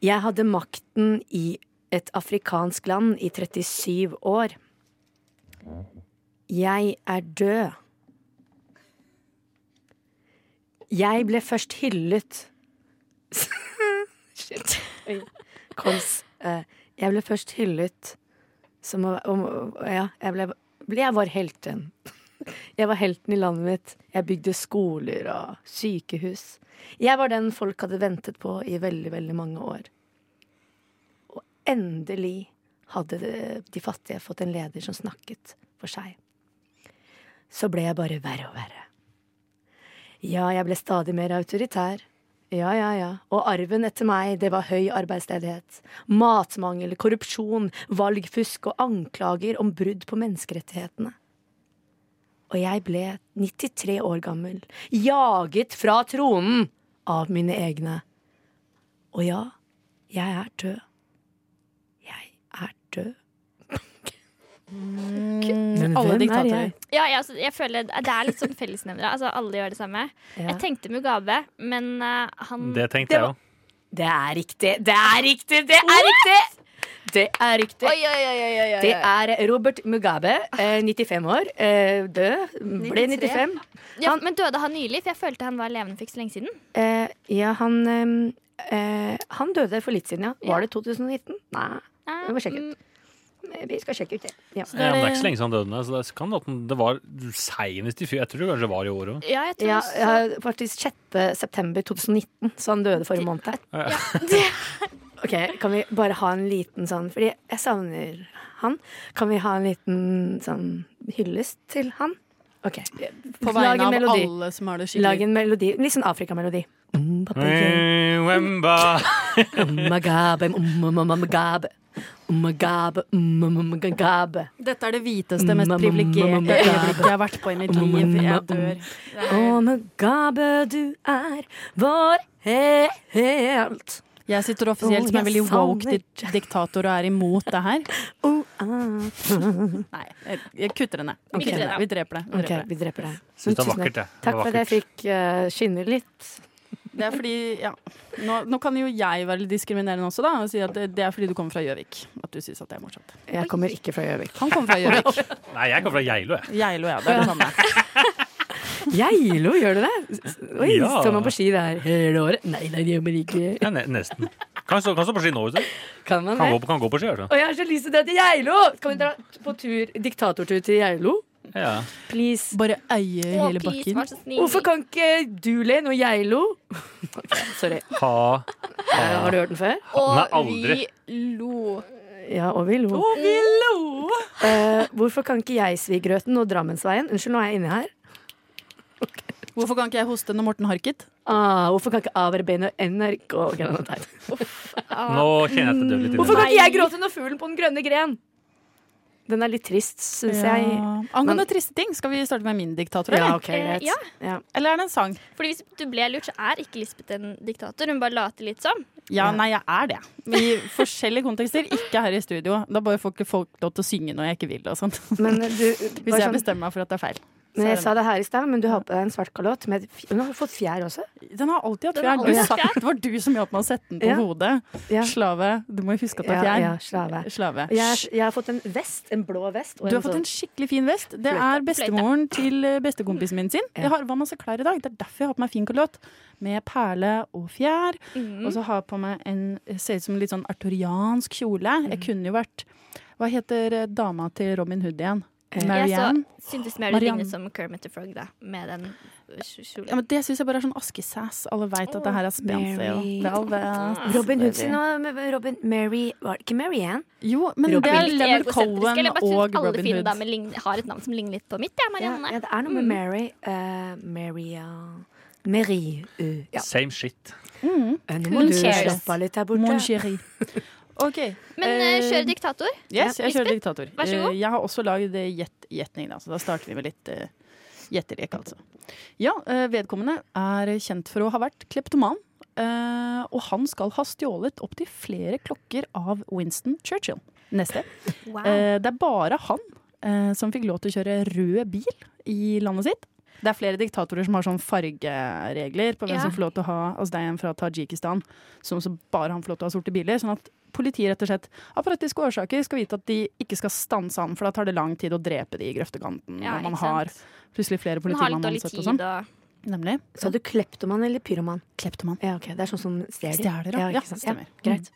Speaker 7: Jeg hadde makten i et afrikansk land i 37 år. Jeg er død. Jeg ble først hyllet Shit. Oi. Kols. Eh, Jeg ble først hyllet som å, om, ja, jeg, ble, ble- jeg var helten. Jeg var helten i landet mitt. Jeg bygde skoler og sykehus. Jeg var den folk hadde ventet på i veldig, veldig mange år. Og endelig hadde det- de fattige fått en leder som snakket for seg. Så ble jeg bare verre og verre. Ja, jeg ble stadig mer autoritær. Ja, ja, ja. Og arven etter meg, det var høy arbeidsledighet. Matmangel, korrupsjon, valgfusk og anklager om brudd på menneskerettighetene. Og jeg ble 93 år gammel, jaget fra tronen av mine egne. Og ja, jeg er død. Jeg er død.
Speaker 8: Mm.
Speaker 7: Men
Speaker 8: alle
Speaker 7: hvem er
Speaker 8: diktatorer.
Speaker 7: jeg?
Speaker 6: Ja, jeg, altså, jeg føler det det er litt sånn fellesnevnere. Altså, alle gjør det samme.
Speaker 7: Ja.
Speaker 6: Jeg tenkte Mugabe, men eh, han
Speaker 1: Det tenkte jeg jo.
Speaker 7: Det er riktig, det er riktig, det er riktig! Det er riktig.
Speaker 6: Oi, oi, oi, oi, oi, oi.
Speaker 7: Det er Robert Mugabe, eh, 95 år, eh, død, ble 95.
Speaker 6: ja, Men døde han nylig? For jeg følte han var levende for ikke så lenge siden.
Speaker 7: Eh, ja, han ehm, eh, Han døde for litt siden, ja. Var det 2019? Nei,
Speaker 6: Eh,
Speaker 7: vi må sjekke
Speaker 6: mm,
Speaker 7: ut. Vi skal sjekke ut det. Ja.
Speaker 1: Ja, men det er ikke så lenge siden han døde, så det kan at den- det var senest i fjor. Jeg tror det kanskje var i år òg.
Speaker 6: Ja, jeg tror
Speaker 7: Ja,
Speaker 6: så-
Speaker 7: ja, faktisk 6. september 2019, så han døde forrige måned. Ok, Kan vi bare ha en liten sånn Fordi jeg savner han. Kan vi ha en liten sånn hyllest til han? OK.
Speaker 8: På
Speaker 7: Lag
Speaker 8: vegne
Speaker 7: en
Speaker 8: av
Speaker 7: melodi.
Speaker 8: alle som har det
Speaker 7: Lag
Speaker 8: skikkelig
Speaker 7: en melodi. Litt sånn Afrikamelodi. Mm, pappa, yeah.
Speaker 1: Wemba.
Speaker 7: Eh. Magabe, magabe, magabe, magabe.
Speaker 8: Dette er det hviteste,
Speaker 7: Mm, mm,
Speaker 8: mest
Speaker 7: mm,
Speaker 8: privilegerte
Speaker 7: mm,
Speaker 8: øyeblikket jeg har vært på i mitt
Speaker 7: Mm,
Speaker 8: liv.
Speaker 7: mm,
Speaker 8: Jeg
Speaker 7: mm,
Speaker 8: dør.
Speaker 7: Å, Mugabe, du er vår helt.
Speaker 8: Jeg sitter
Speaker 7: Å,
Speaker 8: offisielt som en
Speaker 7: jeg
Speaker 8: veldig woke
Speaker 7: savner-
Speaker 8: di- diktator og er imot det her.
Speaker 7: Oh, ah.
Speaker 8: Nei, jeg, jeg kutter det ned. Vi
Speaker 7: Ok.
Speaker 8: kutter det ned. Vi dreper det. Vi
Speaker 7: Ok,
Speaker 8: dreper det.
Speaker 7: vi dreper deg.
Speaker 1: Syns det var
Speaker 7: Tusen
Speaker 1: vakkert, jeg. Det
Speaker 7: Takk
Speaker 1: var
Speaker 7: for at jeg
Speaker 1: vakkert.
Speaker 7: fikk eh, skinne litt.
Speaker 8: det er fordi, ja. nå, nå kan jo jeg være litt diskriminerende også, da. Og si at det, det er fordi du kommer fra Gjøvik. At du syns at det er morsomt.
Speaker 7: Jeg kommer ikke fra Gjøvik.
Speaker 8: Han kommer fra Gjøvik.
Speaker 1: Nei, jeg kommer fra Geilo, jeg.
Speaker 8: Geilo, ja. Det er det samme.
Speaker 7: Geilo, gjør du det? Oi,
Speaker 1: Ja.
Speaker 7: står man på ski der hele året? Nei, nei, det gjør man ikke.
Speaker 1: Ja, ne nesten. Kan stå, kan stå på ski nå, hvis du
Speaker 7: Kan man
Speaker 1: kan
Speaker 7: det?
Speaker 1: gå, på- kan gå på ski. Altså.
Speaker 7: Og jeg har så lyst til å dra til Geilo! Kan vi dra på tur, diktatortur til Geilo?
Speaker 1: Ja.
Speaker 7: Please.
Speaker 8: Bare øye
Speaker 6: Å,
Speaker 8: hele
Speaker 6: please,
Speaker 8: bakken.
Speaker 6: vær så snill.
Speaker 7: Hvorfor kan ikke du le noe Geilo? Ok, sorry.
Speaker 1: Ha
Speaker 7: Eh, Har du hørt den før?
Speaker 1: Nei,
Speaker 6: Og
Speaker 1: aldri.
Speaker 6: vi lo.
Speaker 7: Ja, og vi lo. Eh, hvorfor kan ikke jeg svi grøten og Drammensveien? Unnskyld, nå er jeg inne her.
Speaker 8: Hvorfor kan ikke jeg hoste når Morten harket?
Speaker 7: Ah, hvorfor kan ikke AVRBN og NRK Ok, den er teit.
Speaker 1: Nå kjenner jeg at det dør litt
Speaker 7: Hvorfor
Speaker 1: inni meg.
Speaker 7: kan ikke jeg gråte når fuglen på den grønne gren? Den er litt trist, syns
Speaker 8: Ja.
Speaker 7: jeg.
Speaker 8: Angående
Speaker 7: Men-
Speaker 8: triste ting, skal vi starte med min diktator,
Speaker 7: Ja,
Speaker 8: eller?
Speaker 7: ok, greit.
Speaker 6: Eh, ja.
Speaker 7: Ja.
Speaker 8: Eller er det en sang?
Speaker 6: Fordi hvis du ble lurt, så er ikke Lisbeth en diktator. Hun bare later litt som.
Speaker 8: Ja, nei, jeg er det. I forskjellige kontekster, ikke her i studio. Da bare får ikke folk lov til å synge når jeg ikke vil og sånn.
Speaker 7: Men du,
Speaker 8: Hvis
Speaker 7: bare
Speaker 8: jeg
Speaker 7: sånn,
Speaker 8: bestemmer meg for at det er feil.
Speaker 7: Men jeg
Speaker 8: Søren.
Speaker 7: sa det her i stad, men du har på deg en svart kalott. Med, et fj- hun har fått fjær også.
Speaker 8: Den har alltid hatt
Speaker 6: Den har
Speaker 8: fjær.
Speaker 6: alltid
Speaker 8: Du
Speaker 6: hatt
Speaker 8: sa- Det var du som hjalp meg å sette den på
Speaker 7: Ja.
Speaker 8: hodet.
Speaker 7: Ja.
Speaker 8: Slave. Du må jo huske at det
Speaker 7: Ja,
Speaker 8: er fjær.
Speaker 7: ja, slave.
Speaker 8: slave.
Speaker 7: Jeg, jeg har fått en vest. En blå vest.
Speaker 8: Du har
Speaker 6: sånn
Speaker 8: fått en skikkelig fin vest. Det
Speaker 7: Fløyte.
Speaker 8: er bestemoren til eh, bestekompisen min sin.
Speaker 7: Ja.
Speaker 8: Jeg har arva masse klær i dag. Det er derfor jeg har på meg fin kalott. Med perle og fjær.
Speaker 6: Mhm.
Speaker 8: Og så har jeg på meg en ser ut som en litt sånn arturiansk kjole.
Speaker 6: Mhm.
Speaker 8: Jeg kunne jo vært Hva heter eh, dama til Robin Hood igjen?
Speaker 7: Eh.
Speaker 6: Jeg så
Speaker 8: Marianne?
Speaker 6: syntes mer du
Speaker 8: Marianne.
Speaker 6: lignet som Kermit the Frog, da, med den kj-
Speaker 8: Ja,
Speaker 6: kjolen.
Speaker 8: men det syns jeg bare er sånn askesass. Alle veit at det her er Spencer og
Speaker 7: Mary.
Speaker 8: Velvet.
Speaker 7: Robin Hood sin og Robin Mary Var det ikke Mary Ann?
Speaker 8: Jo, men
Speaker 7: Robin
Speaker 8: det er
Speaker 6: Litt
Speaker 8: Leonard
Speaker 6: egosentrisk,
Speaker 8: Cohen
Speaker 6: eller bare synes
Speaker 8: og
Speaker 6: Alle
Speaker 8: Robin
Speaker 6: fine
Speaker 8: Hood.
Speaker 6: damer lign- har et navn som ligner litt på mitt, ja,
Speaker 7: Ja,
Speaker 6: Marianne.
Speaker 7: ja, det er noe med Mary. Uh, Mary uh, Mary uh, ja.
Speaker 1: Same shit.
Speaker 7: Nå må
Speaker 6: Hun
Speaker 7: du
Speaker 6: cheers.
Speaker 7: slappe av litt der borte.
Speaker 8: Mon chéri. OK.
Speaker 6: Men eh, kjør diktator.
Speaker 8: Yes, jeg kjører
Speaker 6: Lisbeth,
Speaker 8: diktator.
Speaker 6: vær så god.
Speaker 8: Eh, Jeg har også lagd eh, gjett- gjetning, da, så da starter vi med litt eh, gjettelek, altså. Ja, eh, vedkommende er kjent for å ha vært kleptoman. eh, og han skal ha stjålet opptil flere klokker av Winston Churchill. Neste.
Speaker 6: Wow.
Speaker 8: Eh, det er bare han eh, som fikk lov til å kjøre rød bil i landet sitt. Det er flere diktatorer som har sånn fargeregler på hvem
Speaker 6: Ja.
Speaker 8: som får lov til å ha Altså det er en fra Tajikistan som så bare han får lov til å ha sorte biler. Sånn at politiet rett og slett av praktiske årsaker skal vite at de ikke skal stanse han, for da tar det lang tid å drepe de i grøftekanten.
Speaker 6: Ja,
Speaker 8: og man
Speaker 6: ikke
Speaker 8: har
Speaker 6: sant.
Speaker 8: plutselig flere
Speaker 6: Den har
Speaker 8: politimann
Speaker 6: litt dårlig
Speaker 8: ansatt
Speaker 6: tid
Speaker 8: og sånn.
Speaker 6: og
Speaker 8: Nemlig.
Speaker 7: Sa du kleptoman eller pyroman?
Speaker 8: Kleptoman.
Speaker 7: Ja, ok, Det er sånn som stjeler.
Speaker 8: Stjeler, ja.
Speaker 7: ikke
Speaker 8: Ja,
Speaker 7: sant?
Speaker 8: stemmer.
Speaker 7: Ja, greit.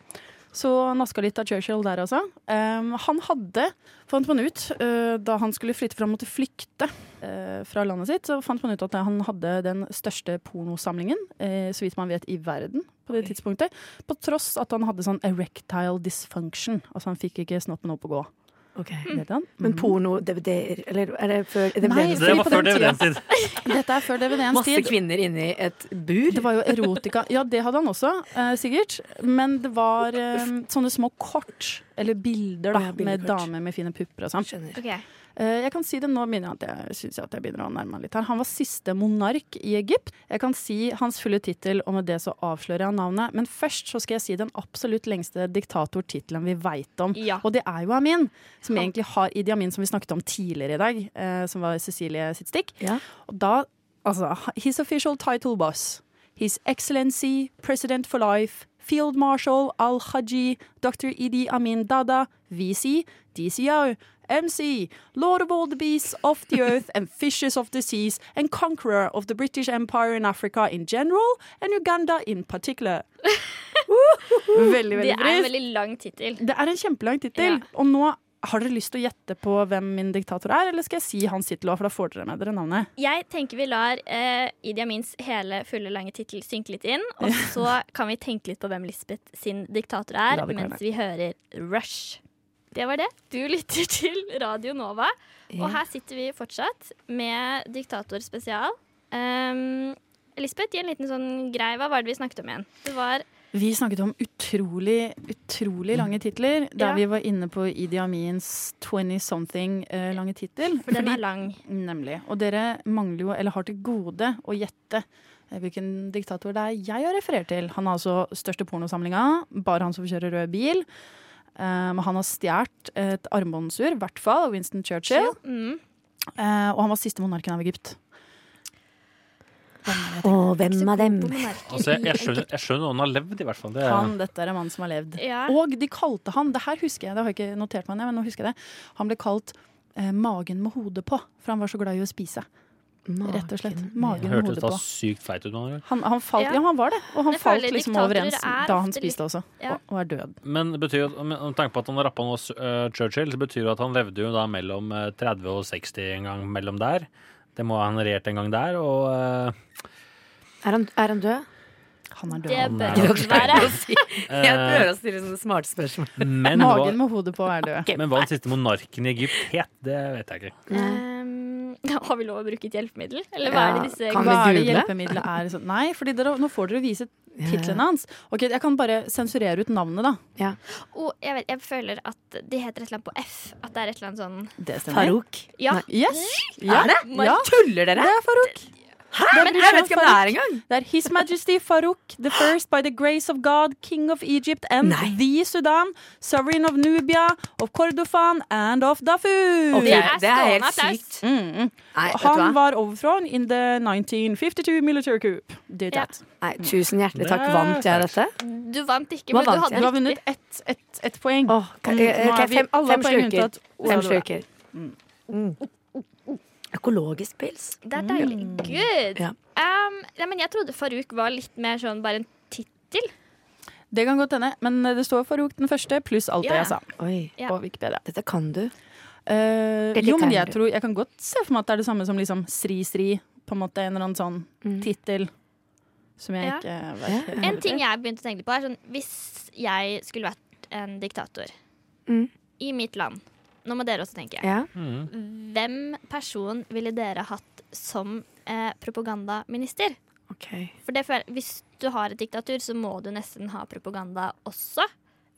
Speaker 8: Så naska litt av Churchill der altså. Um, han hadde, fant man ut, uh, da han skulle flytte, for han måtte flykte uh, fra landet sitt, så fant man ut at han hadde den største pornosamlingen, uh, så vidt man vet, i verden på det tidspunktet. På tross at han hadde sånn erectile dysfunction. Altså han fikk ikke snoppen opp å gå.
Speaker 7: Mm. Ok.
Speaker 8: Vet han?
Speaker 7: Men porno-DVD-er, eller er det før det
Speaker 8: Nei,
Speaker 7: ble-
Speaker 8: fordi
Speaker 1: Det var
Speaker 8: på
Speaker 1: før
Speaker 8: den
Speaker 1: DVD-en tid.
Speaker 8: Dette er før DVD-ens
Speaker 7: Masse
Speaker 8: tid.
Speaker 7: kvinner inni et bur.
Speaker 8: Det var jo erotika. Ja, det hadde han også, eh, sikkert. Men det var eh, sånne små kort, eller
Speaker 7: Å
Speaker 8: bilder, da,
Speaker 7: ja, bildekort.
Speaker 8: med damer med fine pupper og sånn.
Speaker 7: Skjønner.
Speaker 6: Ok.
Speaker 8: Eh, Jeg kan si det nå, begynner jeg at jeg synes jeg at jeg begynner å nærme meg litt her. Han var siste monark i Egypt. Jeg kan si hans fulle tittel, og med det så avslører jeg navnet. Men først så skal jeg si den absolutt lengste diktatortittelen vi veit om.
Speaker 6: Ja.
Speaker 8: Og det er jo Amin, som egentlig har Idi Amin, som vi snakket om tidligere i dag, eh, som var Cecilie sitt stikk.
Speaker 7: Ja.
Speaker 8: Og da, altså, his official title was His Excellency, President for Life, Field Marshal Al-Haji, Dr. Idi Amin Dada, VC, DCO, MC, Lord of all the beasts of the earth and fishes of the seas, and conqueror of the British Empire in Africa in general, and Uganda in particular. veldig,
Speaker 6: Det er
Speaker 8: veldig
Speaker 6: en
Speaker 8: brist.
Speaker 6: veldig lang tittel.
Speaker 8: Det er en kjempelang tittel.
Speaker 6: Ja.
Speaker 8: Og nå har dere lyst til å gjette på hvem min diktator er, eller skal jeg si hans tittel òg, for da får dere med dere navnet?
Speaker 6: Jeg tenker vi lar eh, Idi Amins hele fulle lange tittel synke litt inn, og så kan vi tenke litt på hvem Lisbeth sin diktator er,
Speaker 8: La det gå
Speaker 6: mens vi hører Rush. Det var det. Du lytter til Radio Nova, og her sitter vi fortsatt med Diktator spesial. Um, Lisbeth, gi en liten sånn grei Hva var det vi snakket om igjen? Det var
Speaker 8: Vi snakket om utrolig, utrolig lange titler, der
Speaker 6: Ja.
Speaker 8: vi var inne på Idi Amins 20-something eh, lange tittel.
Speaker 6: For den
Speaker 8: Fordi-
Speaker 6: er lang.
Speaker 8: Nemlig. Og dere mangler jo, eller har til gode, å gjette eh, hvilken diktator det er jeg har referert til. Han har altså største pornosamlinga, bare han som kjører rød bil. Um, han har stjålet et armbåndsur, i hvert fall, av Winston Churchill.
Speaker 6: Mm.
Speaker 8: Eh, og han var siste monarken av Egypt.
Speaker 7: Å, hvem av dem?
Speaker 1: Altså, jeg, jeg, skjønner, jeg skjønner noen har levd, i hvert fall. Det,
Speaker 8: Han, dette er en mann som har levd.
Speaker 6: Ja.
Speaker 8: Og de kalte han, det her husker jeg, det har jeg ikke notert meg ned, men nå husker jeg det. Han ble kalt eh, magen med hodet på, for han var så glad i å spise. Rett og slett. Magen med
Speaker 1: hørtes
Speaker 8: hodet
Speaker 1: da
Speaker 8: på.
Speaker 1: sykt feit ut. noen ganger.
Speaker 8: Han, han falt,
Speaker 6: Ja.
Speaker 8: ja. han var det. Og han
Speaker 6: Jeg
Speaker 8: falt
Speaker 6: føler
Speaker 8: liksom
Speaker 6: diktatorer
Speaker 8: overens
Speaker 6: er
Speaker 8: da
Speaker 6: ofte
Speaker 8: han
Speaker 6: litt-
Speaker 8: spiste også,
Speaker 6: Ja.
Speaker 8: og, og er død.
Speaker 1: Men det betyr jo at, med med tanke på at han rappa nå eh, Churchill, så betyr det at han levde jo da mellom eh, 30 og 60 en gang mellom der. Det må han ha regjert en gang der, og eh,
Speaker 7: Er han, er han død?
Speaker 8: Han er død.
Speaker 6: Det
Speaker 1: Han er
Speaker 6: bør det ikke være.
Speaker 7: Jeg prøver å stille sånne smarte spørsmål.
Speaker 1: men, hva,
Speaker 8: Magen med hodet på er død.
Speaker 1: men hva den siste monarken i Egypt het, det vet jeg ikke.
Speaker 7: Eh,
Speaker 6: Um, har vi lov å bruke et hjelpemiddel? Eller hva er det
Speaker 7: Ja,
Speaker 6: disse
Speaker 7: kan vi
Speaker 8: Hva er det
Speaker 7: google?
Speaker 8: hjelpemiddelet er? Så- Nei, fordi dere, nå får dere vise titlene hans. Ok, Jeg kan bare sensurere ut navnet, da.
Speaker 7: Ja.
Speaker 6: oh, jeg, vet, jeg føler at de heter et eller annet på F. At det er et eller annet sånn
Speaker 8: Det stemmer.
Speaker 7: Farouk.
Speaker 6: Ja,
Speaker 8: Yes. Ja.
Speaker 7: Er det?
Speaker 8: Ja.
Speaker 7: Tuller dere?
Speaker 8: Det er Farouk. Men
Speaker 7: Jeg vet ikke om det er engang.
Speaker 8: Det er His Majesty Farouk the First by the Grace of God, King of Egypt and
Speaker 7: Nei.
Speaker 8: the Sudan, Sovereign of Nubia, of Kordofan and of Darfur.
Speaker 7: Ok,
Speaker 6: Det er
Speaker 7: det er helt
Speaker 6: stående applaus.
Speaker 7: sykt.
Speaker 8: Mm, mm.
Speaker 7: Nei, vet du
Speaker 8: Han
Speaker 7: hva?
Speaker 8: var overfront in the 1952 military coup. Did
Speaker 6: Ja.
Speaker 8: that.
Speaker 7: Nei, Mm. tusen hjertelig takk.
Speaker 1: Det er
Speaker 7: Vant jeg dette?
Speaker 6: Du vant ikke,
Speaker 7: Hva
Speaker 6: men du
Speaker 7: vant
Speaker 6: hadde
Speaker 8: Du har
Speaker 6: riktig.
Speaker 8: vunnet ett ett- ett poeng.
Speaker 7: Åh, kan-
Speaker 8: Mm,
Speaker 7: eh,
Speaker 8: nå
Speaker 7: ok,
Speaker 8: er vi
Speaker 7: fem-
Speaker 8: alle
Speaker 7: fem
Speaker 8: poeng
Speaker 7: slurker.
Speaker 8: unntatt Ola
Speaker 7: Fem
Speaker 8: Dora.
Speaker 7: slurker. Mm. Økologisk pils.
Speaker 6: Det er deilig. Good.
Speaker 7: Ja.
Speaker 6: Um, nei, men jeg trodde Farouk var litt mer sånn bare en tittel.
Speaker 8: Det kan godt hende, men eh, det står Farouk den første pluss alt det
Speaker 6: Ja.
Speaker 8: jeg sa
Speaker 7: Oi,
Speaker 6: Ja.
Speaker 8: på Wikipedia.
Speaker 7: dette kan du.
Speaker 8: Eh,
Speaker 7: Dette
Speaker 8: jo,
Speaker 7: kan
Speaker 8: men jeg,
Speaker 7: du.
Speaker 8: tror, jeg kan godt se for meg at det er det samme som liksom Sri Sri. På en måte en eller annen sånn
Speaker 7: Mm.
Speaker 8: tittel som jeg
Speaker 6: Ja.
Speaker 8: ikke vet helt
Speaker 6: En ting jeg begynte å tenke litt på, er sånn Hvis jeg skulle vært en diktator
Speaker 7: Mm.
Speaker 6: i mitt land Nå må dere også tenke.
Speaker 7: Ja.
Speaker 6: Hvem person ville dere hatt som eh, propagandaminister?
Speaker 7: ok.
Speaker 6: For det føler, hvis du har et diktatur, så må du nesten ha propaganda også.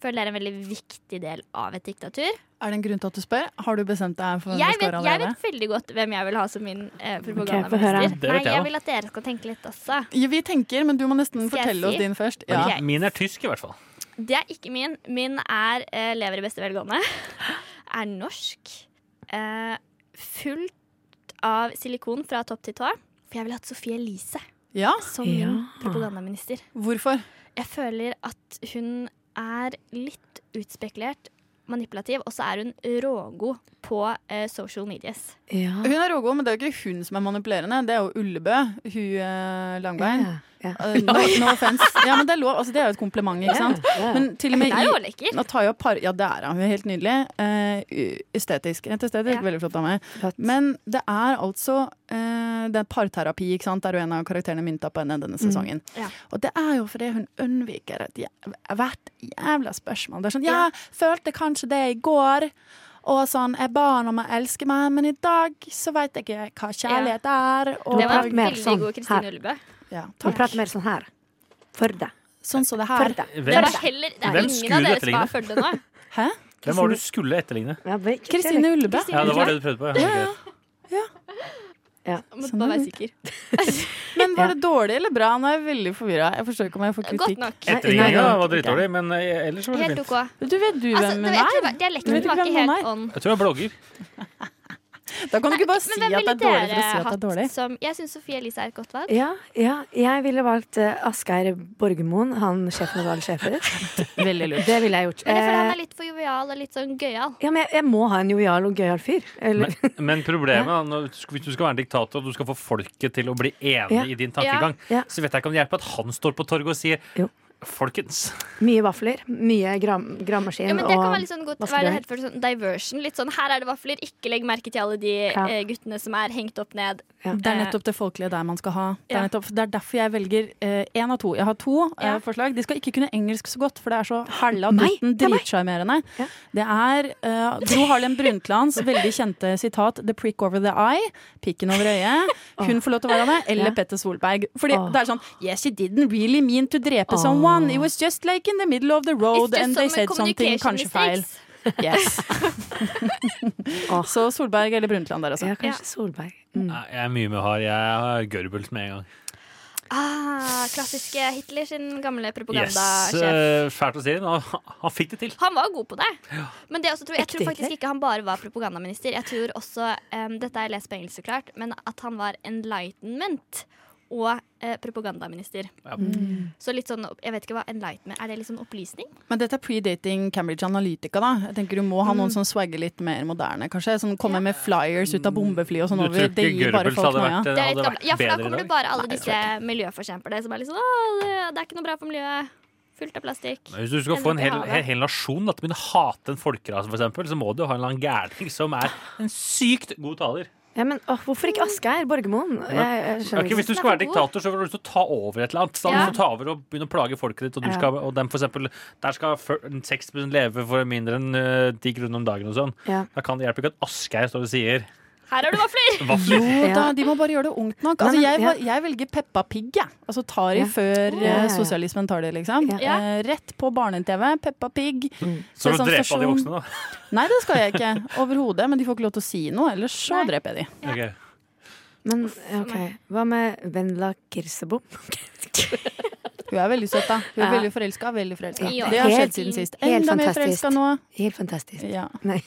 Speaker 6: Føler det er en veldig viktig del av et diktatur.
Speaker 8: Er det en grunn til at du spør? Har du bestemt deg for hvem
Speaker 6: Jeg
Speaker 8: du
Speaker 6: vet,
Speaker 8: skal
Speaker 6: jeg
Speaker 8: allerede?
Speaker 6: vet veldig godt hvem jeg vil ha som min eh,
Speaker 7: få høre.
Speaker 6: propagandaminister.
Speaker 1: Det vet
Speaker 6: Nei,
Speaker 1: jeg, da.
Speaker 6: jeg vil at dere skal tenke litt også.
Speaker 8: Ja, vi tenker, men du må
Speaker 6: Skal
Speaker 8: nesten
Speaker 6: jeg si?
Speaker 8: fortelle oss din først.
Speaker 6: Ok.
Speaker 8: Ja.
Speaker 6: jeg-
Speaker 1: Min er tysk, i hvert fall.
Speaker 6: Det er ikke min. Min er eh, lever i beste velgående. Er norsk. Eh, fullt av silikon fra topp til tå. For jeg ville hatt Sophie Elise
Speaker 8: ja?
Speaker 6: som
Speaker 7: Ja.
Speaker 6: min propagandaminister.
Speaker 8: Hvorfor?
Speaker 6: Jeg føler at hun er litt utspekulert, manipulativ, og så er hun rågod på eh, social medias.
Speaker 7: Ja.
Speaker 8: Hun er rågod, men det er jo ikke hun som er manipulerende. Det er jo Ullebø. Hun eh, langbein.
Speaker 7: Ja, ja.
Speaker 8: Eh, no, no offense. Ja, men det er lov. Altså, det er jo et kompliment, ikke sant?
Speaker 7: Ja.
Speaker 8: Men til og
Speaker 6: Hun
Speaker 8: med
Speaker 6: er
Speaker 8: i
Speaker 6: rålekker.
Speaker 8: Nå tar jeg opp par Ja, det er han. Hun er Helt nydelig. Eh, u- estetisk. Rent estetisk.
Speaker 6: Ja.
Speaker 8: Veldig flott av meg.
Speaker 7: Flott.
Speaker 8: Men det er altså eh, Det er parterapi, ikke sant. Der jo en av karakterene mynta på henne denne sesongen.
Speaker 6: Mm. Ja.
Speaker 8: Og det er jo fordi hun unnviker et jæv hvert jævla spørsmål. Det er sånn Ja, følte kanskje det i går. Og sånn, Jeg ba han om å elske meg, men i dag så veit jeg ikke hva kjærlighet er. Og,
Speaker 6: Det var
Speaker 7: Prat mer
Speaker 6: veldig
Speaker 7: sånn
Speaker 6: god
Speaker 7: her.
Speaker 6: Kristine Ullebø.
Speaker 8: ja,
Speaker 7: Vi
Speaker 8: takk.
Speaker 7: prater mer sånn her. For deg.
Speaker 8: Sånn som det
Speaker 7: For
Speaker 8: her.
Speaker 7: deg.
Speaker 6: Det
Speaker 1: Hvem,
Speaker 6: er, heller, det er
Speaker 1: Hvem
Speaker 6: ingen
Speaker 1: skulle
Speaker 6: av dere
Speaker 1: dette
Speaker 6: som
Speaker 1: ligne?
Speaker 6: har fulgt det nå.
Speaker 8: Hæ?
Speaker 1: hvem var det du skulle etterligne?
Speaker 7: Ja, bare ikke-
Speaker 8: Kristine Ullebø?
Speaker 1: Ja, det var det du prøvde på. Ja. Ok.
Speaker 8: Sånn,
Speaker 6: Måtte bare være sikker.
Speaker 8: Men var det dårlig eller bra? Nå er jeg veldig forvirra. Jeg forstår ikke om jeg får
Speaker 6: Godt
Speaker 8: kritikk.
Speaker 6: nok.
Speaker 7: Nei, nei,
Speaker 1: Etterligninga
Speaker 7: nei,
Speaker 1: var
Speaker 7: ok.
Speaker 1: dritdårlig, men eh, ellers var det
Speaker 6: Helt
Speaker 1: fint.
Speaker 6: OK.
Speaker 8: Du vet du
Speaker 6: Altså,
Speaker 8: hvem
Speaker 6: det-
Speaker 8: hun
Speaker 6: jeg tror
Speaker 8: er?
Speaker 6: bare- dialekten
Speaker 8: Vet du
Speaker 6: var
Speaker 8: hvem
Speaker 6: ikke
Speaker 8: hun
Speaker 6: helt
Speaker 8: er?
Speaker 6: on.
Speaker 1: Jeg tror jeg er blogger.
Speaker 8: Da kan du ikke bare
Speaker 6: Men
Speaker 8: si
Speaker 6: hvem
Speaker 8: at det er
Speaker 6: ville
Speaker 8: dårlig for
Speaker 6: dere
Speaker 8: å si at det er
Speaker 6: hatt
Speaker 8: dårlig.
Speaker 6: Som, jeg syns Sofie Elise er et godt valg.
Speaker 7: Ja, ja, jeg ville valgt eh, Asgeir Borgermoen, han sjefen over alle sjefer.
Speaker 8: Veldig lurt.
Speaker 7: Det ville jeg gjort.
Speaker 6: Men jeg føler han
Speaker 7: Eh,
Speaker 6: er litt for jovial og litt sånn gøyal.
Speaker 7: Ja, men jeg, jeg må ha en jovial og gøyal fyr. Eller,
Speaker 1: Men, men problemet er når- hvis du skal være en diktator og du skal få folket til å bli enig
Speaker 7: Ja.
Speaker 1: i din tankegang,
Speaker 7: Ja.
Speaker 1: så vet jeg ikke om det hjelper at han står på torget og sier
Speaker 7: Jo.
Speaker 1: Folkens,
Speaker 7: mye vafler, mye gram, grammaskin
Speaker 6: Ja, men det kan være litt
Speaker 7: og
Speaker 6: sånn godt,
Speaker 7: hva
Speaker 6: hva
Speaker 7: skal
Speaker 6: er det
Speaker 7: du
Speaker 6: heter for sånn diversion. Litt sånn her er det vafler, ikke legg merke til alle de
Speaker 7: Ja.
Speaker 6: eh, guttene som er hengt opp ned.
Speaker 8: Det
Speaker 7: Eh,
Speaker 8: er nettopp det folkelige der man skal ha. Det
Speaker 6: Ja.
Speaker 8: er, nettopp, det er derfor jeg velger én av to. Jeg har to eh,
Speaker 6: Ja.
Speaker 8: forslag. De skal ikke kunne engelsk så godt, for det er så hella
Speaker 7: Nei,
Speaker 8: dutten
Speaker 7: det er meg.
Speaker 8: dritsjarmerende.
Speaker 7: Ja.
Speaker 8: Det er eh, Gro Harlem Brundtlands veldig kjente sitat 'The prick over the eye', pikken over øyet. Hun får lov til å være det. Eller
Speaker 7: Ja.
Speaker 8: Petter Solberg. Fordi
Speaker 7: Åh.
Speaker 8: det er sånn Yes, she didn't really mean to drepe
Speaker 7: Åh.
Speaker 8: someone. It was just like in the middle of Oh, the road,
Speaker 6: It's just
Speaker 8: and they
Speaker 6: some
Speaker 8: said something
Speaker 6: communication
Speaker 8: kanskje feil.
Speaker 6: mistakes.
Speaker 8: Yes. så Solberg eller Brundtland der,
Speaker 6: sånn-
Speaker 8: altså.
Speaker 7: Ja, kanskje Solberg. Mm.
Speaker 1: Nei, jeg er mye med hard. Jeg har Goebbels med en gang.
Speaker 6: Ah, klassiske Hitler sin gamle
Speaker 1: Yes,
Speaker 6: propagandasjef.
Speaker 1: eh, Fælt å si, men han- han fikk det til.
Speaker 6: Han var god på det. Men det jeg, også tror, jeg
Speaker 7: Ekte
Speaker 6: tror faktisk
Speaker 7: Hitler?
Speaker 6: ikke han bare var propagandaminister. Jeg tror også, em, Dette er lest på engelsk, så klart, men at han var enlightenment og eh, propagandaminister.
Speaker 1: Ja.
Speaker 7: Mm.
Speaker 6: Så litt sånn, opp- jeg vet ikke hva enlightenment Er det litt sånn opplysning?
Speaker 8: Men dette er predating Cambridge Analytica, da. Jeg tenker Du må ha
Speaker 7: Mm.
Speaker 8: noen som swagger litt mer moderne, kanskje. Som kommer med flyers ut av bombefly og
Speaker 1: Du
Speaker 8: sånn over.
Speaker 1: tror
Speaker 8: Det
Speaker 1: ikke
Speaker 8: gir bare
Speaker 1: Goebbels
Speaker 8: folk
Speaker 1: hadde
Speaker 8: noia.
Speaker 1: vært,
Speaker 6: Det er
Speaker 1: hadde
Speaker 6: litt
Speaker 1: vært
Speaker 6: gamle. Ja, for da
Speaker 1: bedre i
Speaker 6: kommer
Speaker 1: dag?
Speaker 6: det bare alle
Speaker 8: Nei, det tror
Speaker 6: disse miljøforkjemperne som er litt sånn Å, det, det er ikke noe bra for miljøet. Fullt av plastikk.
Speaker 1: Hvis du skal få en
Speaker 6: Jeg
Speaker 1: hel,
Speaker 6: vil ikke ha
Speaker 1: hel,
Speaker 6: det.
Speaker 1: hel nasjon da, til å begynne å hate en folkerase, for eksempel, så må du ha en eller annen gærning som er en sykt god taler.
Speaker 7: Ja, men åh, hvorfor ikke Asgeir Borgermoen? Jeg, jeg skjønner
Speaker 1: Ok, hvis
Speaker 7: ikke.
Speaker 1: du skal være diktator, så har du lyst til å ta over et eller annet. Så har du
Speaker 6: Ja.
Speaker 1: lyst til å ta over og begynne å plage folket ditt, og, du
Speaker 7: Ja.
Speaker 1: skal, og dem for eksempel, der skal fyr- 6 leve for mindre enn eh, 10 kroner om dagen og sånn.
Speaker 7: Ja.
Speaker 1: Da kan det hjelpe ikke at Asgeir står og sier
Speaker 6: Her har du vafler!
Speaker 1: vafler.
Speaker 8: Jo da,
Speaker 7: Ja.
Speaker 8: de må bare gjøre det ungt nok.
Speaker 7: Nei,
Speaker 8: Altså,
Speaker 7: men-
Speaker 8: jeg,
Speaker 7: ja.
Speaker 8: var- jeg velger Peppa Pig, jeg. Altså tar i
Speaker 7: Ja.
Speaker 8: før
Speaker 7: Ja, ja,
Speaker 8: eh,
Speaker 7: ja.
Speaker 8: sosialismen tar de, liksom.
Speaker 7: Ja.
Speaker 8: Eh, rett på barne-TV, Peppa Pig.
Speaker 1: Så må du drepe alle de
Speaker 8: Sesam
Speaker 1: voksne, da.
Speaker 8: Nei, det skal jeg ikke. Overhodet. Men de får ikke lov til å si noe, ellers så
Speaker 6: Nei.
Speaker 8: dreper jeg de.
Speaker 1: Ok.
Speaker 7: Men ok, hva med Vendela Kirsebom?
Speaker 8: Hun er veldig søt, da. Hun er
Speaker 7: Ja.
Speaker 8: veldig forelska. Veldig forelska.
Speaker 6: Ja.
Speaker 8: Det har
Speaker 7: Helt-
Speaker 8: skjedd siden sist.
Speaker 7: helt
Speaker 8: Enda mer
Speaker 7: fantastisk.
Speaker 8: forelska nå.
Speaker 7: Helt fantastisk.
Speaker 8: Ja.
Speaker 7: Nei.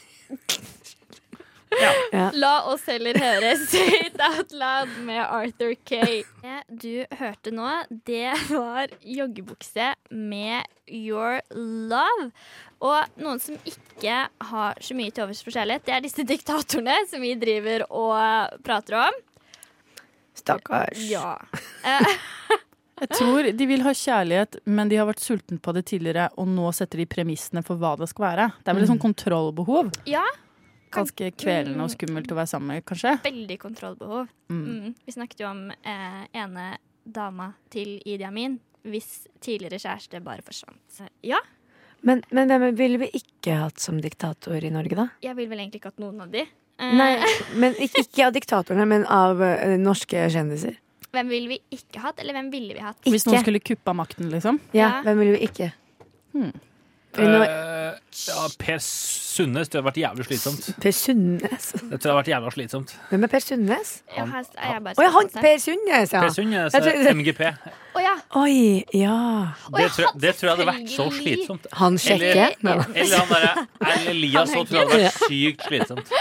Speaker 6: La oss heller høre Straight Out Loud med Arthur Kay. Det du hørte nå, det var joggebukse med Your Love. Og noen som ikke har så mye til overs for kjærlighet, det er disse diktatorene som vi driver og prater om.
Speaker 7: Stakkars.
Speaker 6: Ja.
Speaker 8: Jeg tror de vil ha kjærlighet, men de har vært sultne på det tidligere, og nå setter de premissene for hva det skal være. Det er vel et sånt kontrollbehov.
Speaker 6: Ja.
Speaker 8: Ganske kvelende og skummelt å være sammen med, kanskje.
Speaker 6: Veldig kontrollbehov. Mm. Vi snakket jo om eh, ene dama til Idi Amin. Hvis tidligere kjæreste bare forsvant. Ja,
Speaker 7: Men, men hvem ville vi ikke hatt som diktator i Norge, da?
Speaker 6: jeg vil vel egentlig ikke at noen av de. Eh,
Speaker 7: Nei, men ikke, ikke av diktatorene, men av eh, norske kjendiser.
Speaker 6: Hvem ville vi ikke hatt, eller hvem ville vi hatt?
Speaker 8: Hvis noen skulle kuppa makten, liksom.
Speaker 7: Ja,
Speaker 6: Ja.
Speaker 7: hvem ville vi ikke?
Speaker 8: Hmm.
Speaker 7: Eh, Nå,
Speaker 1: Eh, ja, per Sundnes, det har vært jævlig slitsomt.
Speaker 7: per Sundnes?
Speaker 1: Det tror jeg har vært jævla slitsomt.
Speaker 7: Hvem er Per Sundnes?
Speaker 6: Ja, her er jeg bare
Speaker 7: Å ja, han
Speaker 6: skeptisk her.
Speaker 7: Per Sundnes, ja!
Speaker 1: Per Sundnes,
Speaker 7: Jeg tror-
Speaker 1: eh, MGP.
Speaker 6: Å ja.
Speaker 7: Oi, ja.
Speaker 1: Det tror, jeg, det tror jeg hadde vært så
Speaker 6: Selvfølgelig.
Speaker 1: slitsomt.
Speaker 7: Han sjekker.
Speaker 6: Eller-
Speaker 7: Nei,
Speaker 1: Eller han derre Erlend Elias òg tror jeg hadde vært sykt slitsomt.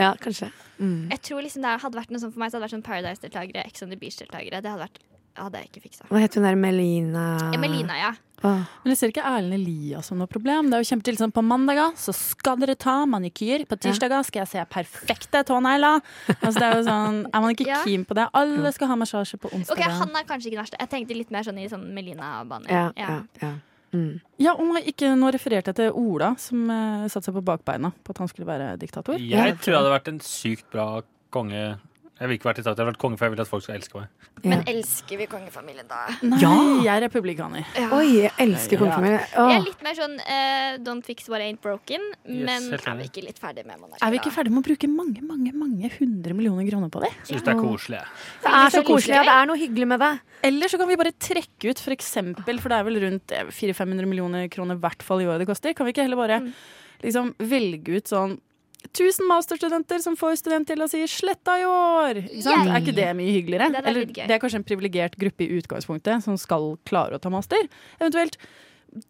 Speaker 7: Ja, kanskje.
Speaker 6: Jeg tror liksom det hadde vært noe sånn for meg, så hadde det vært sånn Paradise-deltakere, Ex on the Beach-deltakere. Det hadde vært hadde jeg ikke fiksa.
Speaker 7: Hva heter hun der Melina?
Speaker 6: Emelina, ja.
Speaker 7: Åh.
Speaker 8: Men jeg ser ikke Erlend Elias som noe problem. Det er jo kjempe til sånn På mandager så skal dere ta manikyr. På tirsdager skal jeg se perfekte tånegler. Altså, det er jo sånn Er man ikke
Speaker 6: Ja.
Speaker 8: keen på det? Alle skal ha massasje på onsdag.
Speaker 6: OK, han er kanskje ikke den verste. Jeg tenkte litt mer sånn i sånn Melina-bane.
Speaker 7: Ja, ja, ja.
Speaker 8: Ja, og nå- ikke, nå refererte jeg til Ola, som uh, satte seg på bakbeina på at han skulle være diktator.
Speaker 1: Jeg tror jeg hadde vært en sykt bra konge. Jeg vil ikke være diktator, jeg vil være konge, for jeg vil at folk skal elske meg.
Speaker 6: Men elsker vi kongefamilien, da?
Speaker 8: Nei,
Speaker 7: Ja!
Speaker 8: jeg er republikaner.
Speaker 7: Oi, jeg elsker kongefamilien.
Speaker 6: Jeg er
Speaker 7: Åh.
Speaker 6: litt mer sånn eh, don't fix what ain't broken, men
Speaker 1: helt
Speaker 6: er vi
Speaker 1: enig.
Speaker 6: ikke litt ferdig med monarkiet?
Speaker 8: Er vi ikke ferdig med å bruke mange mange, mange hundre millioner kroner på det?
Speaker 1: Syns det er koselig. jeg.
Speaker 7: Det er så koselig. Ja, det er noe hyggelig med det.
Speaker 8: Eller så kan vi bare trekke ut, for eksempel, for det er vel rundt eh, 400-500 millioner kroner i hvert fall i året det koster. Kan vi ikke heller bare liksom velge ut sånn 1000 masterstudenter som får studentgjeld og sier 'sletta i år'! Ikke sant?
Speaker 6: Yay.
Speaker 8: Er ikke det mye hyggeligere?
Speaker 6: Det hadde vært
Speaker 8: Eller
Speaker 6: litt gøy.
Speaker 8: det er kanskje en privilegert gruppe i utgangspunktet som skal klare å ta master. Eventuelt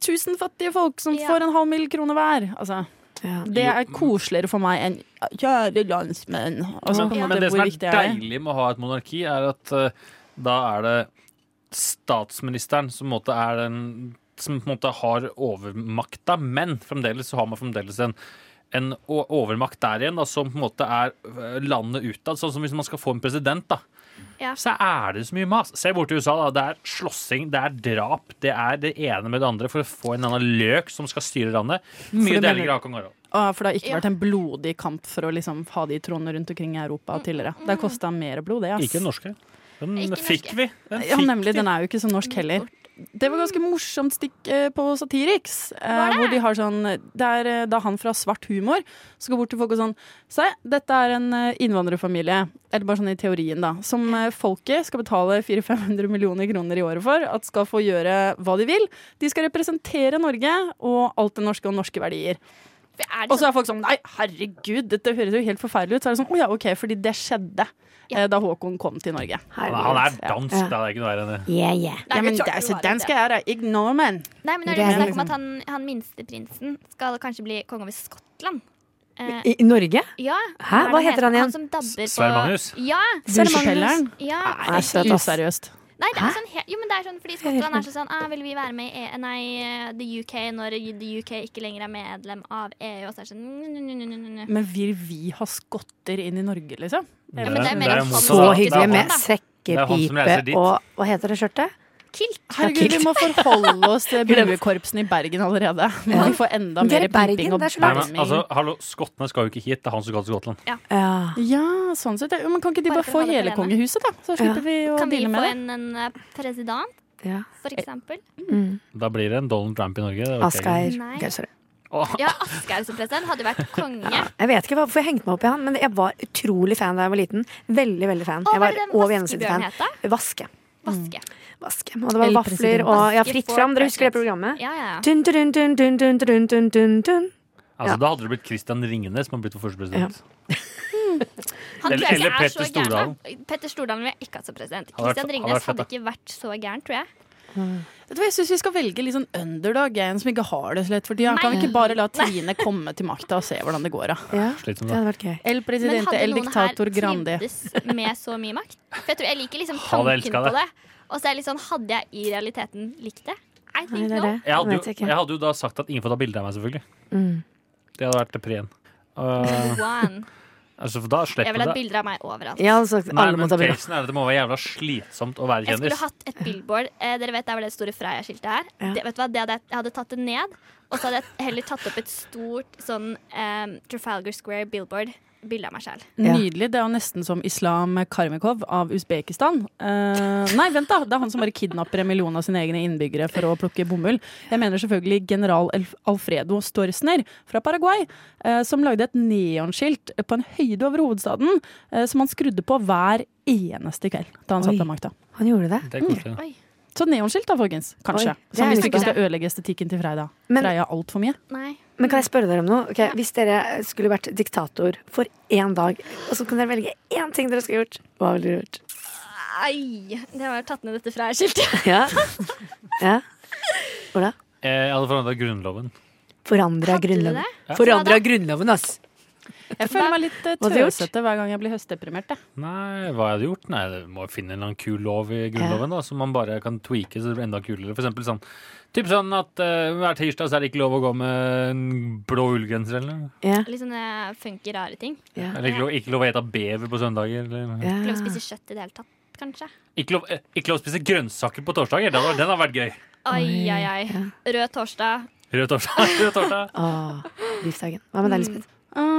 Speaker 8: 1000 fattige folk som
Speaker 6: Ja.
Speaker 8: får en halv mill. kroner hver. Altså,
Speaker 7: Ja.
Speaker 8: det er koseligere for meg enn 'kjære landsmenn'. Altså, på en
Speaker 1: Men,
Speaker 8: måte,
Speaker 1: men det som
Speaker 8: hvor
Speaker 1: er
Speaker 8: viktig er det?
Speaker 1: deilig med å ha et monarki, er at eh, da er det statsministeren som på en måte er den som på en måte har overmakta, men fremdeles så har man fremdeles en en o- overmakt der igjen, da, som på en måte er eh, landet utad. Sånn som hvis man skal få en president, da.
Speaker 6: Ja.
Speaker 1: Så er det så mye mas. Se bort til USA, da. Det er slåssing, det er drap. Det er det ene med det andre for å få en eller annen løk som skal styre landet. Mye
Speaker 8: det mener-
Speaker 1: deiligere å ha kong Harald.
Speaker 8: Ah, for det har ikke
Speaker 6: Ja.
Speaker 8: vært en blodig kamp for å liksom ha de tronene rundt omkring i Europa tidligere. Det har kosta mer blod, det. ass.
Speaker 1: Ikke den norske. Den
Speaker 6: Ikke
Speaker 1: fikk
Speaker 6: norske.
Speaker 1: vi. Den
Speaker 8: Ja,
Speaker 1: fikk
Speaker 8: nemlig.
Speaker 1: vi.
Speaker 8: Den er jo ikke så norsk heller. Det var ganske morsomt stikk eh, på Satiriks. eh, Hvor de har sånn Det er eh, da han fra Svart humor som går bort til folk og sånn Se, dette er en eh, innvandrerfamilie, eller bare sånn i teorien, da, som eh, folket skal betale 400-500 millioner kroner i året for at skal få gjøre hva de vil. De skal representere Norge og alt det norske og norske verdier.
Speaker 6: For er det
Speaker 8: Og
Speaker 6: sånn,
Speaker 8: så er folk sånn Nei, herregud, dette høres jo helt forferdelig ut. Så er det sånn Å ja, OK, fordi det skjedde eh, da Håkon kom til Norge.
Speaker 1: Han er- Han er
Speaker 8: Ja.
Speaker 1: dansk,
Speaker 7: Ja.
Speaker 1: da. Det er ikke noe verre enn det.
Speaker 7: Yeah, yeah.
Speaker 6: Nei,
Speaker 8: Ja, men
Speaker 6: det
Speaker 8: det
Speaker 6: klart
Speaker 8: er
Speaker 6: du
Speaker 8: så
Speaker 6: har
Speaker 8: den
Speaker 6: det.
Speaker 8: skal jeg da. Ignore man.
Speaker 6: Nei, men når
Speaker 7: Det
Speaker 6: det
Speaker 7: er
Speaker 6: snakk om
Speaker 7: liksom-
Speaker 6: at han, han minsteprinsen skal kanskje bli konge over Skottland. Eh,
Speaker 7: I, I Norge?
Speaker 6: ja.
Speaker 7: Hæ? Hva heter han igjen?
Speaker 6: Han som dabber på
Speaker 1: Svein Magnus?
Speaker 6: Ja.
Speaker 8: Bursepelleren.
Speaker 6: ja.
Speaker 7: Nei, søt, ass.
Speaker 8: Useriøst.
Speaker 6: Nei, det er sånn he Jo, men det er sånn fordi Skottland er så sånn ah, Vil vi være med i e Nei, eh, the UK når the UK ikke lenger er medlem av EU? Og så er det sånn n -n -n -n -n -n.
Speaker 8: Men vil vi ha skotter inn i Norge, liksom?
Speaker 1: Det
Speaker 6: men det er mer
Speaker 1: det
Speaker 6: en
Speaker 1: motsatt.
Speaker 6: fantastisk-
Speaker 7: Så
Speaker 6: Det er
Speaker 7: hyggelig
Speaker 6: han-
Speaker 7: med
Speaker 1: er han som reiser dit.
Speaker 7: sekkepipe og Hva heter det skjørtet?
Speaker 6: Kilt.
Speaker 8: Herregud, vi må forholde oss til buekorpsene i Bergen allerede. Må vi få enda
Speaker 7: Men det er
Speaker 8: mer
Speaker 7: Bergen,
Speaker 8: piping og
Speaker 7: det er så
Speaker 1: Nei,
Speaker 7: langt.
Speaker 8: bæmming.
Speaker 1: men, altså, hallo, Skottene skal jo ikke hit. Det er han som skal til Skottland.
Speaker 7: Ja.
Speaker 8: Ja, sånn sett. Ja, Men kan ikke de
Speaker 6: Bare
Speaker 8: bare
Speaker 6: for å
Speaker 8: få
Speaker 6: holde
Speaker 8: hele
Speaker 6: på det
Speaker 8: kongehuset, da? Så slipper vi å
Speaker 6: Kan vi få
Speaker 8: deale med det.
Speaker 6: en, en eh, president,
Speaker 7: ja.
Speaker 6: for eksempel?
Speaker 7: Eh,
Speaker 1: Da blir det en Donald Trump i Norge. Det er ok.
Speaker 7: Asgeir.
Speaker 6: Nei.
Speaker 7: Ok, sorry.
Speaker 1: Åh,
Speaker 6: Ja, Aschehoug som president hadde vært konge.
Speaker 7: Jeg vet ikke hvorfor jeg hengte meg opp i han, men jeg var utrolig fan da jeg var liten. Veldig, veldig fan.
Speaker 6: Og
Speaker 7: Jeg
Speaker 6: hva er
Speaker 7: var
Speaker 6: det den
Speaker 7: over gjennomsnittet
Speaker 6: vaskebjørnen
Speaker 7: fan.
Speaker 6: het, da?
Speaker 7: Vaske.
Speaker 6: Vaske.
Speaker 7: Vaske. Og det var
Speaker 8: El
Speaker 7: vafler
Speaker 8: Presidente.
Speaker 7: og ja,
Speaker 6: Vaske
Speaker 7: Fritt
Speaker 6: for
Speaker 7: fram. Dere husker det
Speaker 6: president.
Speaker 7: programmet?
Speaker 6: Ja, ja.
Speaker 7: Dun, dun, dun, dun, dun, dun, dun, dun, dun.
Speaker 1: Altså, Da hadde det blitt Christian Ringnes som hadde blitt vår første president.
Speaker 6: Han
Speaker 1: Eller-
Speaker 6: tror jeg
Speaker 1: eller
Speaker 6: ikke er
Speaker 1: Petter
Speaker 6: så gæren. da. Petter Stordalen vil jeg ikke hatt som president.
Speaker 1: Hadde vært-
Speaker 6: Christian
Speaker 1: hadde vært
Speaker 6: Ringnes
Speaker 1: fett,
Speaker 6: hadde ikke vært så gæren, tror jeg.
Speaker 8: Vet du hva, Jeg syns vi skal velge litt sånn underdog, jeg, en som ikke har det så lett for tida. Kan vi
Speaker 6: Nei.
Speaker 8: ikke bare la Trine komme til makta og se hvordan det går, da?
Speaker 7: Ja,
Speaker 1: Sliter
Speaker 7: det
Speaker 1: med det.
Speaker 7: hadde vært gøy.
Speaker 8: El
Speaker 6: Men
Speaker 8: presidente,
Speaker 6: hadde
Speaker 8: el
Speaker 6: noen
Speaker 8: diktator Grande.
Speaker 6: her trivdes med så mye makt? For jeg tror jeg liker liksom
Speaker 1: Hadde
Speaker 6: tanken
Speaker 1: elsket
Speaker 6: på
Speaker 1: det.
Speaker 6: det. Og så er det litt sånn, hadde jeg i realiteten likt det? I
Speaker 7: Nei,
Speaker 6: think
Speaker 7: det er
Speaker 6: no.
Speaker 7: det.
Speaker 1: Jeg
Speaker 7: Det
Speaker 1: hadde,
Speaker 7: vet
Speaker 1: jo,
Speaker 7: jeg ikke.
Speaker 1: jeg hadde jo da sagt at ingen får ta bilde av meg, selvfølgelig.
Speaker 7: Mm.
Speaker 1: Det hadde vært pre
Speaker 6: One.
Speaker 1: altså, for da
Speaker 6: Jeg
Speaker 1: slipper
Speaker 6: vil ha
Speaker 1: du
Speaker 6: et
Speaker 1: det.
Speaker 6: bilde av meg overalt.
Speaker 7: Jeg hadde sagt
Speaker 1: Nei,
Speaker 7: alle må
Speaker 1: men
Speaker 7: ta bilde.
Speaker 1: casen er at det må være jævla slitsomt å være
Speaker 6: Jeg skulle
Speaker 1: kjendis.
Speaker 6: hatt et billboard. Eh, dere vet der var det store Freia-skiltet her.
Speaker 7: Ja.
Speaker 6: Det, vet du hva? Det hadde, jeg- jeg hadde tatt det ned, og så hadde jeg heller tatt opp et stort sånn eh, Trafalgar Square-billboard. Bilde av meg sjæl.
Speaker 7: Ja.
Speaker 8: Nydelig. Det er jo nesten som Islam Karmikov av Usbekistan. Eh, nei, vent, da! Det er han som bare kidnapper en million av sine egne innbyggere for å plukke bomull. Jeg mener selvfølgelig general Elf- Alfredo Storsner fra Paraguay, eh, som lagde et neonskilt på en høyde over hovedstaden eh, som han skrudde på hver eneste kveld da han
Speaker 7: Oi.
Speaker 8: satt ved makta.
Speaker 7: Han gjorde det.
Speaker 1: Det er koselig. da.
Speaker 8: Så neonskilt da, folkens. Kanskje.
Speaker 7: Oi, det
Speaker 8: Som
Speaker 7: er
Speaker 8: hvis
Speaker 7: jo
Speaker 8: du ikke
Speaker 6: ikke
Speaker 8: skal ødelegge estetikken til Freida.
Speaker 7: Men-
Speaker 8: Freia altfor mye.
Speaker 6: Nei.
Speaker 7: Men kan jeg spørre dere om noe? Ok, hvis dere skulle vært diktator for én dag, og så kan dere velge én ting dere skulle gjort, hva ville dere gjort?
Speaker 6: Ai! Det var tatt ned dette Freia-skiltet.
Speaker 7: Ja. ja. Ola?
Speaker 1: Eh, Jeg hadde forandra Grunnloven.
Speaker 7: Forandra
Speaker 6: Hadde du
Speaker 7: grunnloven.
Speaker 1: det?
Speaker 7: Forandra grunnloven, ass!
Speaker 8: Jeg føler meg litt eh,
Speaker 7: Hva hadde du gjort?
Speaker 8: tøsete hver gang jeg blir høstdeprimert. jeg.
Speaker 1: Nei, hva jeg hadde gjort? Nei, det må finne en eller annen kul lov i Grunnloven da, som man bare kan tweake så det blir enda kulere. For eksempel sånn, typ sånn at eh, hver tirsdag så er det ikke lov å gå med en blå ullgenser eller noe.
Speaker 7: Ja.
Speaker 6: Litt sånne funky, rare ting.
Speaker 7: ja.
Speaker 1: Eller ikke lov, ikke lov å ete bever på søndager. Eller,
Speaker 7: ja.
Speaker 6: Ikke lov å spise kjøtt i det hele tatt, kanskje.
Speaker 1: ikke, lov, eh, ikke lov å spise grønnsaker på torsdager. Den, den har vært gøy.
Speaker 6: Ai, ai, ai. Rød torsdag.
Speaker 1: Rød torsdag. Rød torsdag.
Speaker 7: Åh, livsdagen. Hva med deg, Lisbeth?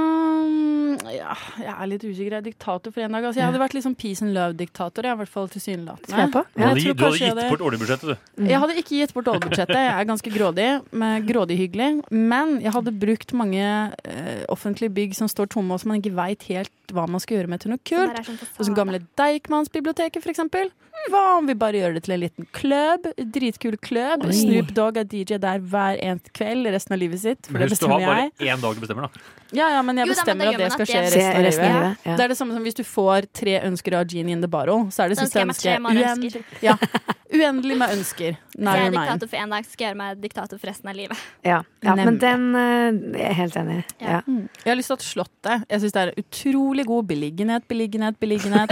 Speaker 8: Um, ja, jeg er litt usikker. Jeg er diktator for en dag. Altså, jeg hadde vært litt sånn peace and love-diktator. Jeg, i hvert fall
Speaker 7: Tror jeg
Speaker 8: tilsynelatende.
Speaker 7: på?
Speaker 1: Du
Speaker 8: Ja, jeg
Speaker 1: hadde, gi-
Speaker 8: tror
Speaker 1: du hadde
Speaker 8: kanskje jeg
Speaker 1: gitt
Speaker 8: hadde-
Speaker 1: bort oljebudsjettet, du.
Speaker 8: Jeg hadde ikke gitt bort oljebudsjettet. Jeg er ganske grådig, men grådig hyggelig. Men jeg hadde brukt mange eh, offentlige bygg som står tomme, og som man ikke veit helt hva man skal gjøre med til noe
Speaker 6: som
Speaker 8: kult.
Speaker 6: bare er sånn fasade.
Speaker 8: Og som gamle Deichmansbiblioteket, for eksempel. Hva om vi bare gjør det til en liten klubb? Dritkul klubb.
Speaker 7: Oi.
Speaker 8: Snoop Dogg er DJ der hver eneste kveld resten av livet sitt. For
Speaker 1: Men
Speaker 8: det
Speaker 1: husk, du har
Speaker 8: bestemmer
Speaker 1: bare
Speaker 8: jeg.
Speaker 1: én dag du bestemmer, da.
Speaker 8: Ja, ja, men jeg
Speaker 6: Jo da, men
Speaker 8: bestemmer
Speaker 6: da
Speaker 8: at
Speaker 6: gjør
Speaker 8: det
Speaker 6: man
Speaker 8: skal
Speaker 6: at
Speaker 8: skje
Speaker 6: det
Speaker 7: Mm. Se
Speaker 8: resten av livet.
Speaker 7: livet.
Speaker 8: Det
Speaker 7: Ja.
Speaker 8: er det samme som hvis du får tre ønsker av Genie in the Bottle, så er det
Speaker 6: Da
Speaker 8: siste
Speaker 6: ønsker jeg meg tre
Speaker 8: ønsket
Speaker 6: mange
Speaker 8: uend-
Speaker 6: ønsker.
Speaker 8: ja, uendelig med ønsker. Nei,
Speaker 6: jeg er
Speaker 8: nei.
Speaker 6: diktator for én dag, så skal jeg gjøre meg diktator for resten av livet.
Speaker 7: Ja. ja, men
Speaker 8: Nemlig.
Speaker 7: den eh, er jeg helt enig i.
Speaker 6: Ja.
Speaker 7: Ja.
Speaker 8: Jeg har lyst til at Slottet Jeg syns det er utrolig god beliggenhet, beliggenhet, beliggenhet.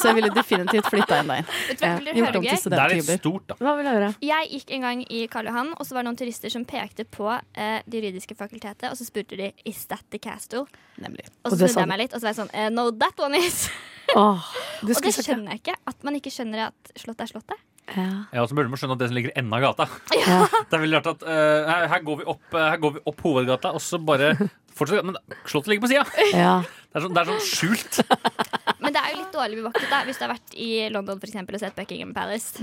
Speaker 8: Så jeg ville definitivt flytta inn der.
Speaker 6: Vet du hva
Speaker 7: Ja.
Speaker 6: jeg ville
Speaker 8: Gjort
Speaker 6: høre
Speaker 8: om til
Speaker 6: gøy?
Speaker 1: Det er litt
Speaker 8: studenthybler.
Speaker 1: stort, da.
Speaker 7: Hva vil du gjøre?
Speaker 6: Jeg gikk en gang i Karl Johan, og så var det noen turister som pekte på eh, Det juridiske fakultetet, og så spurte de Is that the castle?
Speaker 8: Nemlig.
Speaker 6: Og
Speaker 7: Og
Speaker 6: så
Speaker 7: det
Speaker 6: snudde
Speaker 7: sa du.
Speaker 6: jeg meg litt, og så var jeg sånn eh, No, that one is!
Speaker 7: Åh, du
Speaker 6: Og det
Speaker 7: skulle sagt ja.
Speaker 6: skjønner jeg ikke. At man ikke skjønner at Slottet er Slottet.
Speaker 7: Ja.
Speaker 1: Ja, og så burde man skjønne at det som ligger i enden av gata
Speaker 7: Ja.
Speaker 1: Det er veldig rart at eh, her, her, går vi opp, eh, her går vi opp hovedgata, og så bare fortsetter Men Slottet ligger på sida!
Speaker 7: ja.
Speaker 1: Det er sånn, det er sånn skjult.
Speaker 6: Men det er jo litt dårlig bevoktet da, hvis du har vært i London for eksempel, og sett Buckingham Palace.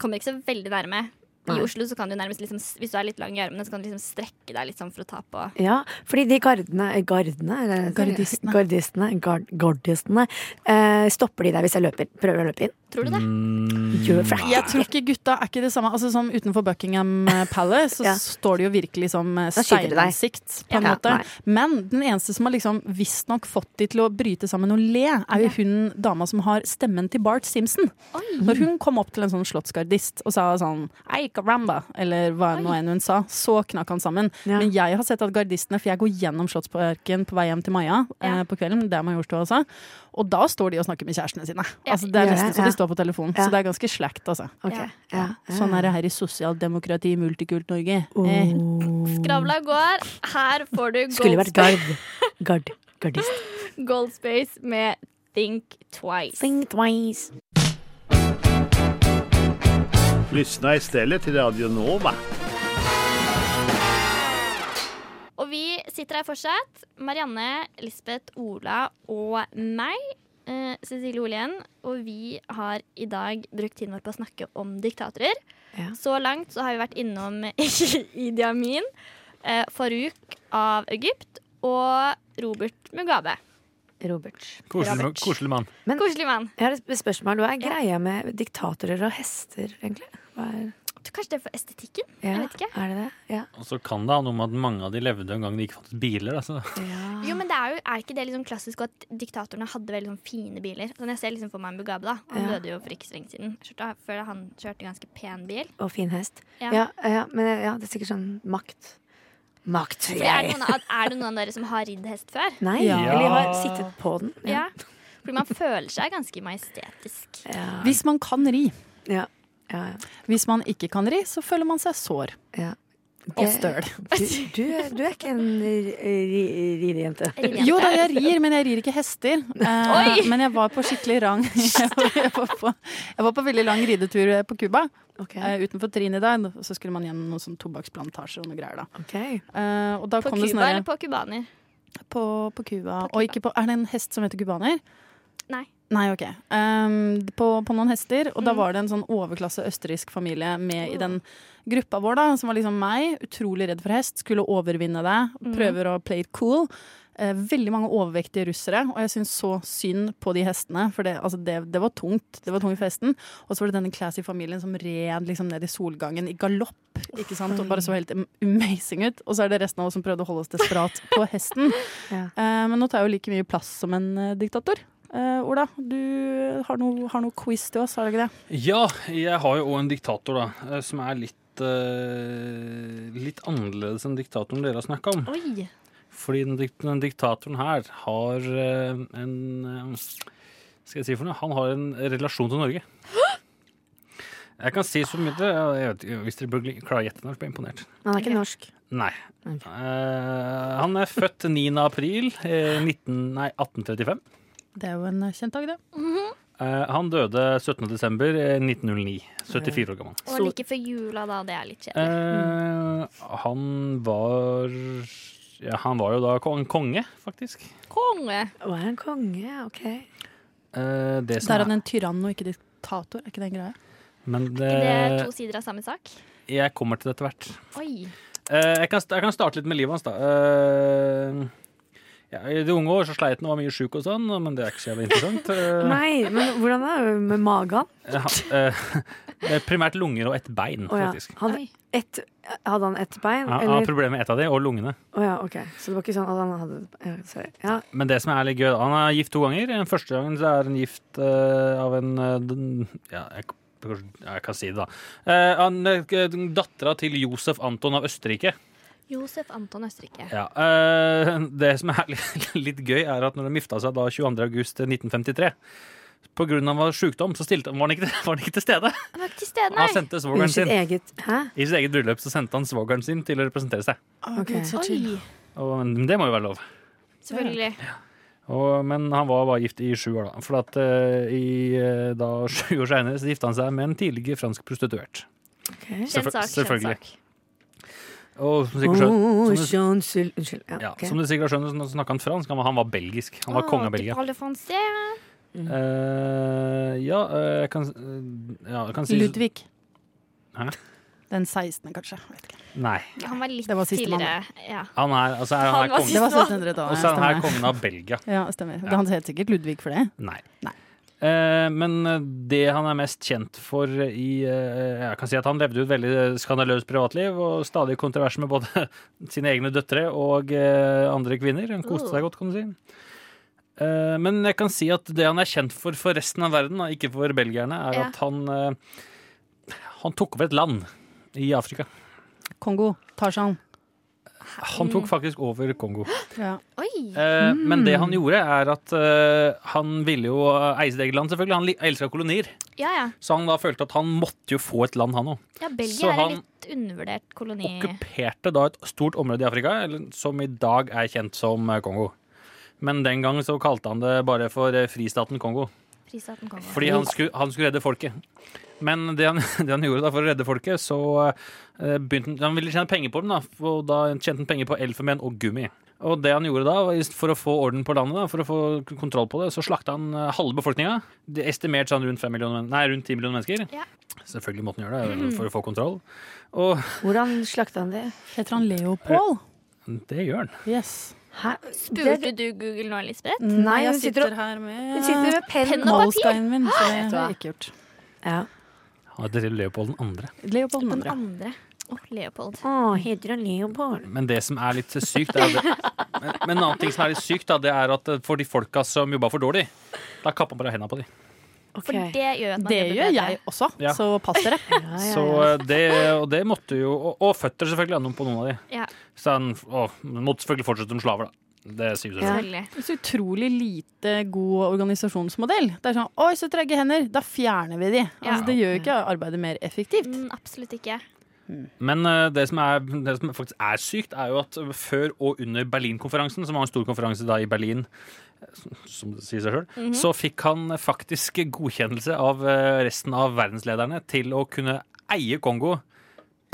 Speaker 6: Kommer ikke så veldig nærme. I
Speaker 7: Mm. Nei.
Speaker 6: Oslo så kan du nærmest liksom, hvis du er litt lang i armene, så kan du liksom strekke deg litt sånn for å ta på.
Speaker 7: Ja, fordi de gardene, gardene eller-
Speaker 8: Gardistene.
Speaker 7: Gardistene, gard, gardistene eh, Stopper de deg hvis jeg løper, prøver å løpe inn?
Speaker 6: Tror du det?
Speaker 1: Mm,
Speaker 7: Gjør for det
Speaker 8: Jeg tror ikke gutta er ikke det samme. Altså Som utenfor Buckingham eh, Palace så
Speaker 7: Ja.
Speaker 8: står de jo virkelig som eh,
Speaker 7: Da skyter de deg.
Speaker 8: steinansikt, på en
Speaker 7: Ja,
Speaker 8: måte.
Speaker 7: nei.
Speaker 8: Men den eneste som har liksom visstnok fått de til å bryte sammen og le, er jo hun dama som har stemmen til Bart Simpson. Når hun kom opp til en sånn slottsgardist og sa sånn Ei, caramba, eller hva nå enn hun sa, så knakk han sammen.
Speaker 7: Ja.
Speaker 8: Men jeg har sett at gardistene, for jeg går gjennom Slottsparken på vei hjem til Maja
Speaker 6: Ja.
Speaker 8: eh, på kvelden, det er Majorstua også, og da står de og snakker med kjærestene sine.
Speaker 6: Ja.
Speaker 8: Altså, det er
Speaker 7: Gjør
Speaker 8: nesten
Speaker 7: det,
Speaker 8: så
Speaker 7: ja.
Speaker 8: de står på telefonen,
Speaker 7: Ja.
Speaker 8: så det er ganske slakt, altså.
Speaker 7: Ok,
Speaker 6: Ja.
Speaker 7: ja.
Speaker 8: Sånn er det her i sosialdemokrati multikult Norge. Eh,
Speaker 7: Åh.
Speaker 6: Skravla går. Her får du
Speaker 7: Oh. Skulle
Speaker 6: gold,
Speaker 7: vært gard. gard. Gardist.
Speaker 6: sp- gold space med Think Twice.
Speaker 7: Think twice.
Speaker 9: Lyssna istället till Radio Nova.
Speaker 6: Og vi sitter her fortsatt. Marianne, Lisbeth, Ola og meg. eh, Cecilie Olien. Og vi har i dag brukt tiden vår på å snakke om diktatorer.
Speaker 7: Ja.
Speaker 6: Så langt så har vi vært innom Idi Amin, eh, Farouk av Egypt og Robert Mugabe.
Speaker 7: Robert.
Speaker 1: Koselig, koselig mann.
Speaker 7: Men
Speaker 6: Koselig mann.
Speaker 7: jeg har et spørsmål. Hva er greia med diktatorer og hester, egentlig? Hva er
Speaker 6: Kanskje det er for estetikken?
Speaker 7: Ja,
Speaker 6: Jeg vet ikke.
Speaker 7: Er det det? Ja.
Speaker 1: Og så kan det ha noe med at mange av de levde en gang det ikke fantes biler. Altså.
Speaker 6: Jo, men det er, jo, er ikke det liksom klassisk at diktatorene hadde veldig sånn fine biler? Sånn jeg ser liksom for meg Mugabe, da. Han
Speaker 7: Ja.
Speaker 6: døde jo for ikke så lenge siden. Skjønte- Før han kjørte ganske pen bil.
Speaker 7: Og fin hest.
Speaker 6: Ja.
Speaker 7: Ja, ja, men ja, det er sikkert sånn makt. Makt,
Speaker 6: For Er sånn- det,
Speaker 7: jeg!
Speaker 6: noen, av- er det noen av dere som har ridd hest før?
Speaker 7: Nei,
Speaker 8: Ja.
Speaker 7: eller jeg har sittet på den.
Speaker 6: Ja. Fordi man føler seg ganske majestetisk.
Speaker 7: Ja.
Speaker 8: Hvis man kan ri.
Speaker 7: Ja. Ja, ja.
Speaker 8: Hvis man ikke kan ri, så føler man seg sår
Speaker 7: Ja.
Speaker 8: og
Speaker 7: Det-
Speaker 8: støl.
Speaker 7: Du, du, er- du er ikke en ri- ri- ridejente.
Speaker 6: Ridejente.
Speaker 8: Jo da, jeg rir, men jeg rir ikke hester. Eh,
Speaker 6: Oi!
Speaker 8: men jeg var på skikkelig rang jeg var, jeg, var på, jeg var på veldig lang ridetur på Cuba,
Speaker 7: Ok.
Speaker 8: eh, utenfor Trinidad. og Så skulle man gjennom noen sånn tobakksplantasjer og noe greier, da.
Speaker 7: ok.
Speaker 8: Eh, og da
Speaker 6: På
Speaker 8: kom
Speaker 6: Cuba
Speaker 8: det sånn
Speaker 6: eller
Speaker 8: derre-
Speaker 6: på cubaner?
Speaker 8: på, på Cuba.
Speaker 6: På
Speaker 8: Og ikke på Er det en hest som heter cubaner?
Speaker 6: Nei. Mm.
Speaker 8: Nei, ok. Ehm, på, på noen hester, og da var det en sånn overklasse østerriksk familie med i den gruppa vår, da, som var liksom meg, utrolig redd for hest, skulle overvinne det,
Speaker 6: Mm.
Speaker 8: prøver å play it cool. Eh, veldig mange overvektige russere, og jeg syns så synd på de hestene, for det, altså det, det var tungt. Det var tungt for hesten. Og så var det denne classy familien som red liksom ned i solgangen i galopp, ikke sant, og bare så helt am- amazing ut. Og så er det resten av oss som prøvde å holde oss desperat på hesten.
Speaker 7: Ja.
Speaker 8: Eh, men nå tar jeg jo like mye plass som en eh, diktator. Eh, Ola, du har noe, har noe quiz til oss, har du ikke det?
Speaker 1: Ja, jeg har jo òg en diktator, da, eh, som er litt eh, Litt annerledes enn diktatoren dere har snakka om.
Speaker 6: Oi!
Speaker 1: Fordi den, dik- den diktatoren her har eh, en eh, Skal jeg si for noe? Han har en relasjon til Norge. Jeg kan si så mye dere- jeg vet, ikke, Hvis dere bør gl- klare å gjette, den, så blir jeg imponert.
Speaker 7: Man er ikke norsk.
Speaker 1: Nei.
Speaker 7: Ok.
Speaker 1: Eh, han er født 9. april eh, 19, nei, 1835.
Speaker 8: Det er jo en eh, kjent dag, det.
Speaker 1: Eh, han døde 17. desember eh, 1909. 74 år gammel.
Speaker 6: Og like før jula, da. Det er litt kjedelig.
Speaker 1: Eh, han var ja, Han var jo da kon- konge, faktisk.
Speaker 6: Konge!
Speaker 7: Å, er han konge? Ok.
Speaker 1: Eh, det som
Speaker 8: Der er han en tyrann og ikke diktator, er ikke det en greie?
Speaker 1: Men
Speaker 6: Er ikke det
Speaker 1: det,
Speaker 6: to sider av samme sak?
Speaker 1: jeg kommer til det etter hvert.
Speaker 6: Oi.
Speaker 1: Eh, jeg, kan, st- jeg kan starte litt med livet hans, da. Eh, ja, I de unge år så sleit han og var mye sjuk og sånn, men det er ikke så jævlig interessant. Eh,
Speaker 7: Nei, men hvordan er det med magen?
Speaker 1: han- eh, primært lunger og ett bein,
Speaker 7: Å, ja.
Speaker 1: faktisk.
Speaker 7: Han,
Speaker 6: Oi.
Speaker 7: et, hadde han ett bein?
Speaker 1: Han han har
Speaker 7: eller?
Speaker 1: problemer med ett av de, og lungene.
Speaker 7: Å ja, ok. Så det var ikke sånn at han hadde ja, Sorry. Ja,
Speaker 1: Men det som er litt gøy, da, han er gift to ganger. Den første gangen så er han gift eh, av en eh, den, Ja, jeg, jeg kan si det, da. Eh, han er Dattera til Josef Anton av Østerrike.
Speaker 6: Josef Anton Østerrike.
Speaker 1: Ja, eh, det som er litt, litt gøy, er at når de gifta seg da 22. august 1953 på grunn av sykdom, så stilte, var, han ikke, var han ikke til stede.
Speaker 6: Han var ikke til stede,
Speaker 1: Han
Speaker 6: nei!
Speaker 1: sendte
Speaker 7: under
Speaker 1: svogeren
Speaker 7: sitt
Speaker 1: sin.
Speaker 7: eget Hæ?
Speaker 1: I sitt eget bryllup så sendte han svogeren sin til å representere seg.
Speaker 7: Ok.
Speaker 6: Oi!
Speaker 1: Og, men det må jo være lov.
Speaker 6: Selvfølgelig.
Speaker 1: Og, men han var bare gift i sju år, da. For at eh, i, eh, da sju år seinere så gifta han seg med en tidligere fransk prostituert.
Speaker 7: Ok.
Speaker 6: Kjent
Speaker 1: Selvfø-
Speaker 6: sak. Kjent
Speaker 1: selvfølgelig.
Speaker 6: sak.
Speaker 1: Og som sikkert skjønner,
Speaker 7: Oh,
Speaker 1: som du-
Speaker 7: unnskyld. Unnskyld.
Speaker 1: ja,
Speaker 7: Ja, ok. Ah,
Speaker 1: som du sikkert skjønner, så snakka han fransk. Han var, han var belgisk. Han var konge av Belgia.
Speaker 6: Parle français.
Speaker 1: Eh, ja, eh, jeg kan, eh, ja, jeg kan si
Speaker 8: Ludvig.
Speaker 1: Hæ?
Speaker 8: Den 16., kanskje. jeg vet ikke.
Speaker 1: Nei.
Speaker 6: Han var litt
Speaker 8: Det var siste
Speaker 6: tidligere. Ja.
Speaker 1: Han er, altså, er,
Speaker 6: Han
Speaker 1: han er
Speaker 6: var
Speaker 1: kongen.
Speaker 8: Det var 1700-tallet.
Speaker 1: Og så er han her
Speaker 8: stemmer.
Speaker 1: kongen av Belgia.
Speaker 8: Ja, stemmer. Han het sikkert Ludvig for det.
Speaker 1: Nei.
Speaker 8: Nei.
Speaker 1: Eh, men det han er mest kjent for i eh, Jeg kan si at han levde jo et veldig eh, skandaløst privatliv og stadig kontrovers med både sine egne døtre og eh, andre kvinner. Han koste
Speaker 6: Oh.
Speaker 1: seg godt, kan du si. Eh, men jeg kan si at det han er kjent for for resten av verden, da, ikke for belgierne, er
Speaker 6: Ja.
Speaker 1: at han eh, Han tok over et land i Afrika.
Speaker 8: Kongo. Tarzan.
Speaker 1: Han
Speaker 6: Mm.
Speaker 1: tok faktisk over Kongo.
Speaker 8: Ja.
Speaker 6: Oi!
Speaker 1: Eh, Men det han gjorde, er at eh, han ville jo eh, eie sitt eget land, selvfølgelig. Han li- elska kolonier.
Speaker 6: Ja, ja.
Speaker 1: Så han da følte at han måtte jo få et land, han òg.
Speaker 6: ja
Speaker 1: Så
Speaker 6: Belgia er
Speaker 1: han
Speaker 6: en litt undervurdert koloni.
Speaker 1: Okkuperte da et stort område i Afrika, eller- som i dag er kjent som eh, Kongo. Men den gang så kalte han det bare for eh, fristaten Kongo.
Speaker 6: Fristaten Kongo.
Speaker 1: Fordi han skulle, han skulle redde folket. Men det han, det han gjorde da for å redde folket, så eh, begynte han Han ville tjene penger på dem, da. Og da tjente han penger på elfenben og gummi. Og det han gjorde da, var just for å få orden på landet, da, for å få k- kontroll på det, så slakta han eh, halve befolkninga. Det estimerte sånn rundt, 5 millioner, men- nei, rundt 10 millioner mennesker.
Speaker 6: Ja.
Speaker 1: Selvfølgelig måtte han gjøre det eh, for å få kontroll. Og
Speaker 7: Hvordan slakta han det?
Speaker 8: Heter han Leopold?
Speaker 1: det gjør han.
Speaker 8: Yes.
Speaker 7: Hæ?
Speaker 6: Spurte du Google nå, Elisabeth?
Speaker 7: Nei, hun
Speaker 8: jeg
Speaker 7: sitter og-
Speaker 8: her Eh, med
Speaker 7: Hun sitter med penn
Speaker 6: Penn og papir.
Speaker 8: Moleskine min, så det
Speaker 7: Vet du
Speaker 8: har
Speaker 7: hva?
Speaker 8: jeg ikke gjort.
Speaker 7: Ja.
Speaker 1: Og det er Leopold den andre.
Speaker 4: Leopold den
Speaker 6: Den
Speaker 4: andre.
Speaker 6: andre. Å, Leopold.
Speaker 7: Å, heter han Leopold?
Speaker 1: Men det som er litt sykt er det, men, men en annen ting som er litt sykt, da, det er at eh, for de folka som jobba for dårlig, da kappa man bare henda på de.
Speaker 7: Ok.
Speaker 6: For det gjør jo at man
Speaker 4: Det
Speaker 6: jobber
Speaker 4: gjør
Speaker 6: bedre.
Speaker 4: jeg også,
Speaker 1: Ja.
Speaker 4: så pass dere.
Speaker 7: Ja, ja,
Speaker 1: Så
Speaker 7: ja.
Speaker 1: eh, det, og det måtte jo Og, og føtter, selvfølgelig, ja, noen på noen av de.
Speaker 6: Ja.
Speaker 1: Så han å, men måtte selvfølgelig fortsette som slaver, da. Det sier jo selvfølgelig.
Speaker 6: Selvfølgelig.
Speaker 4: Så utrolig lite god organisasjonsmodell. Det er sånn Oi, så trege hender! Da fjerner vi de.
Speaker 6: Ja.
Speaker 4: Altså, det gjør jo ikke arbeidet mer effektivt.
Speaker 6: Mm, absolutt ikke.
Speaker 1: Men eh, det som, er, det som faktisk er sykt, er jo at før og under Berlinkonferansen, som var en stor konferanse da i Berlin, eh, som det sier seg sjøl,
Speaker 7: Mhm.
Speaker 1: så fikk han faktisk godkjennelse av eh, resten av verdenslederne til å kunne eie Kongo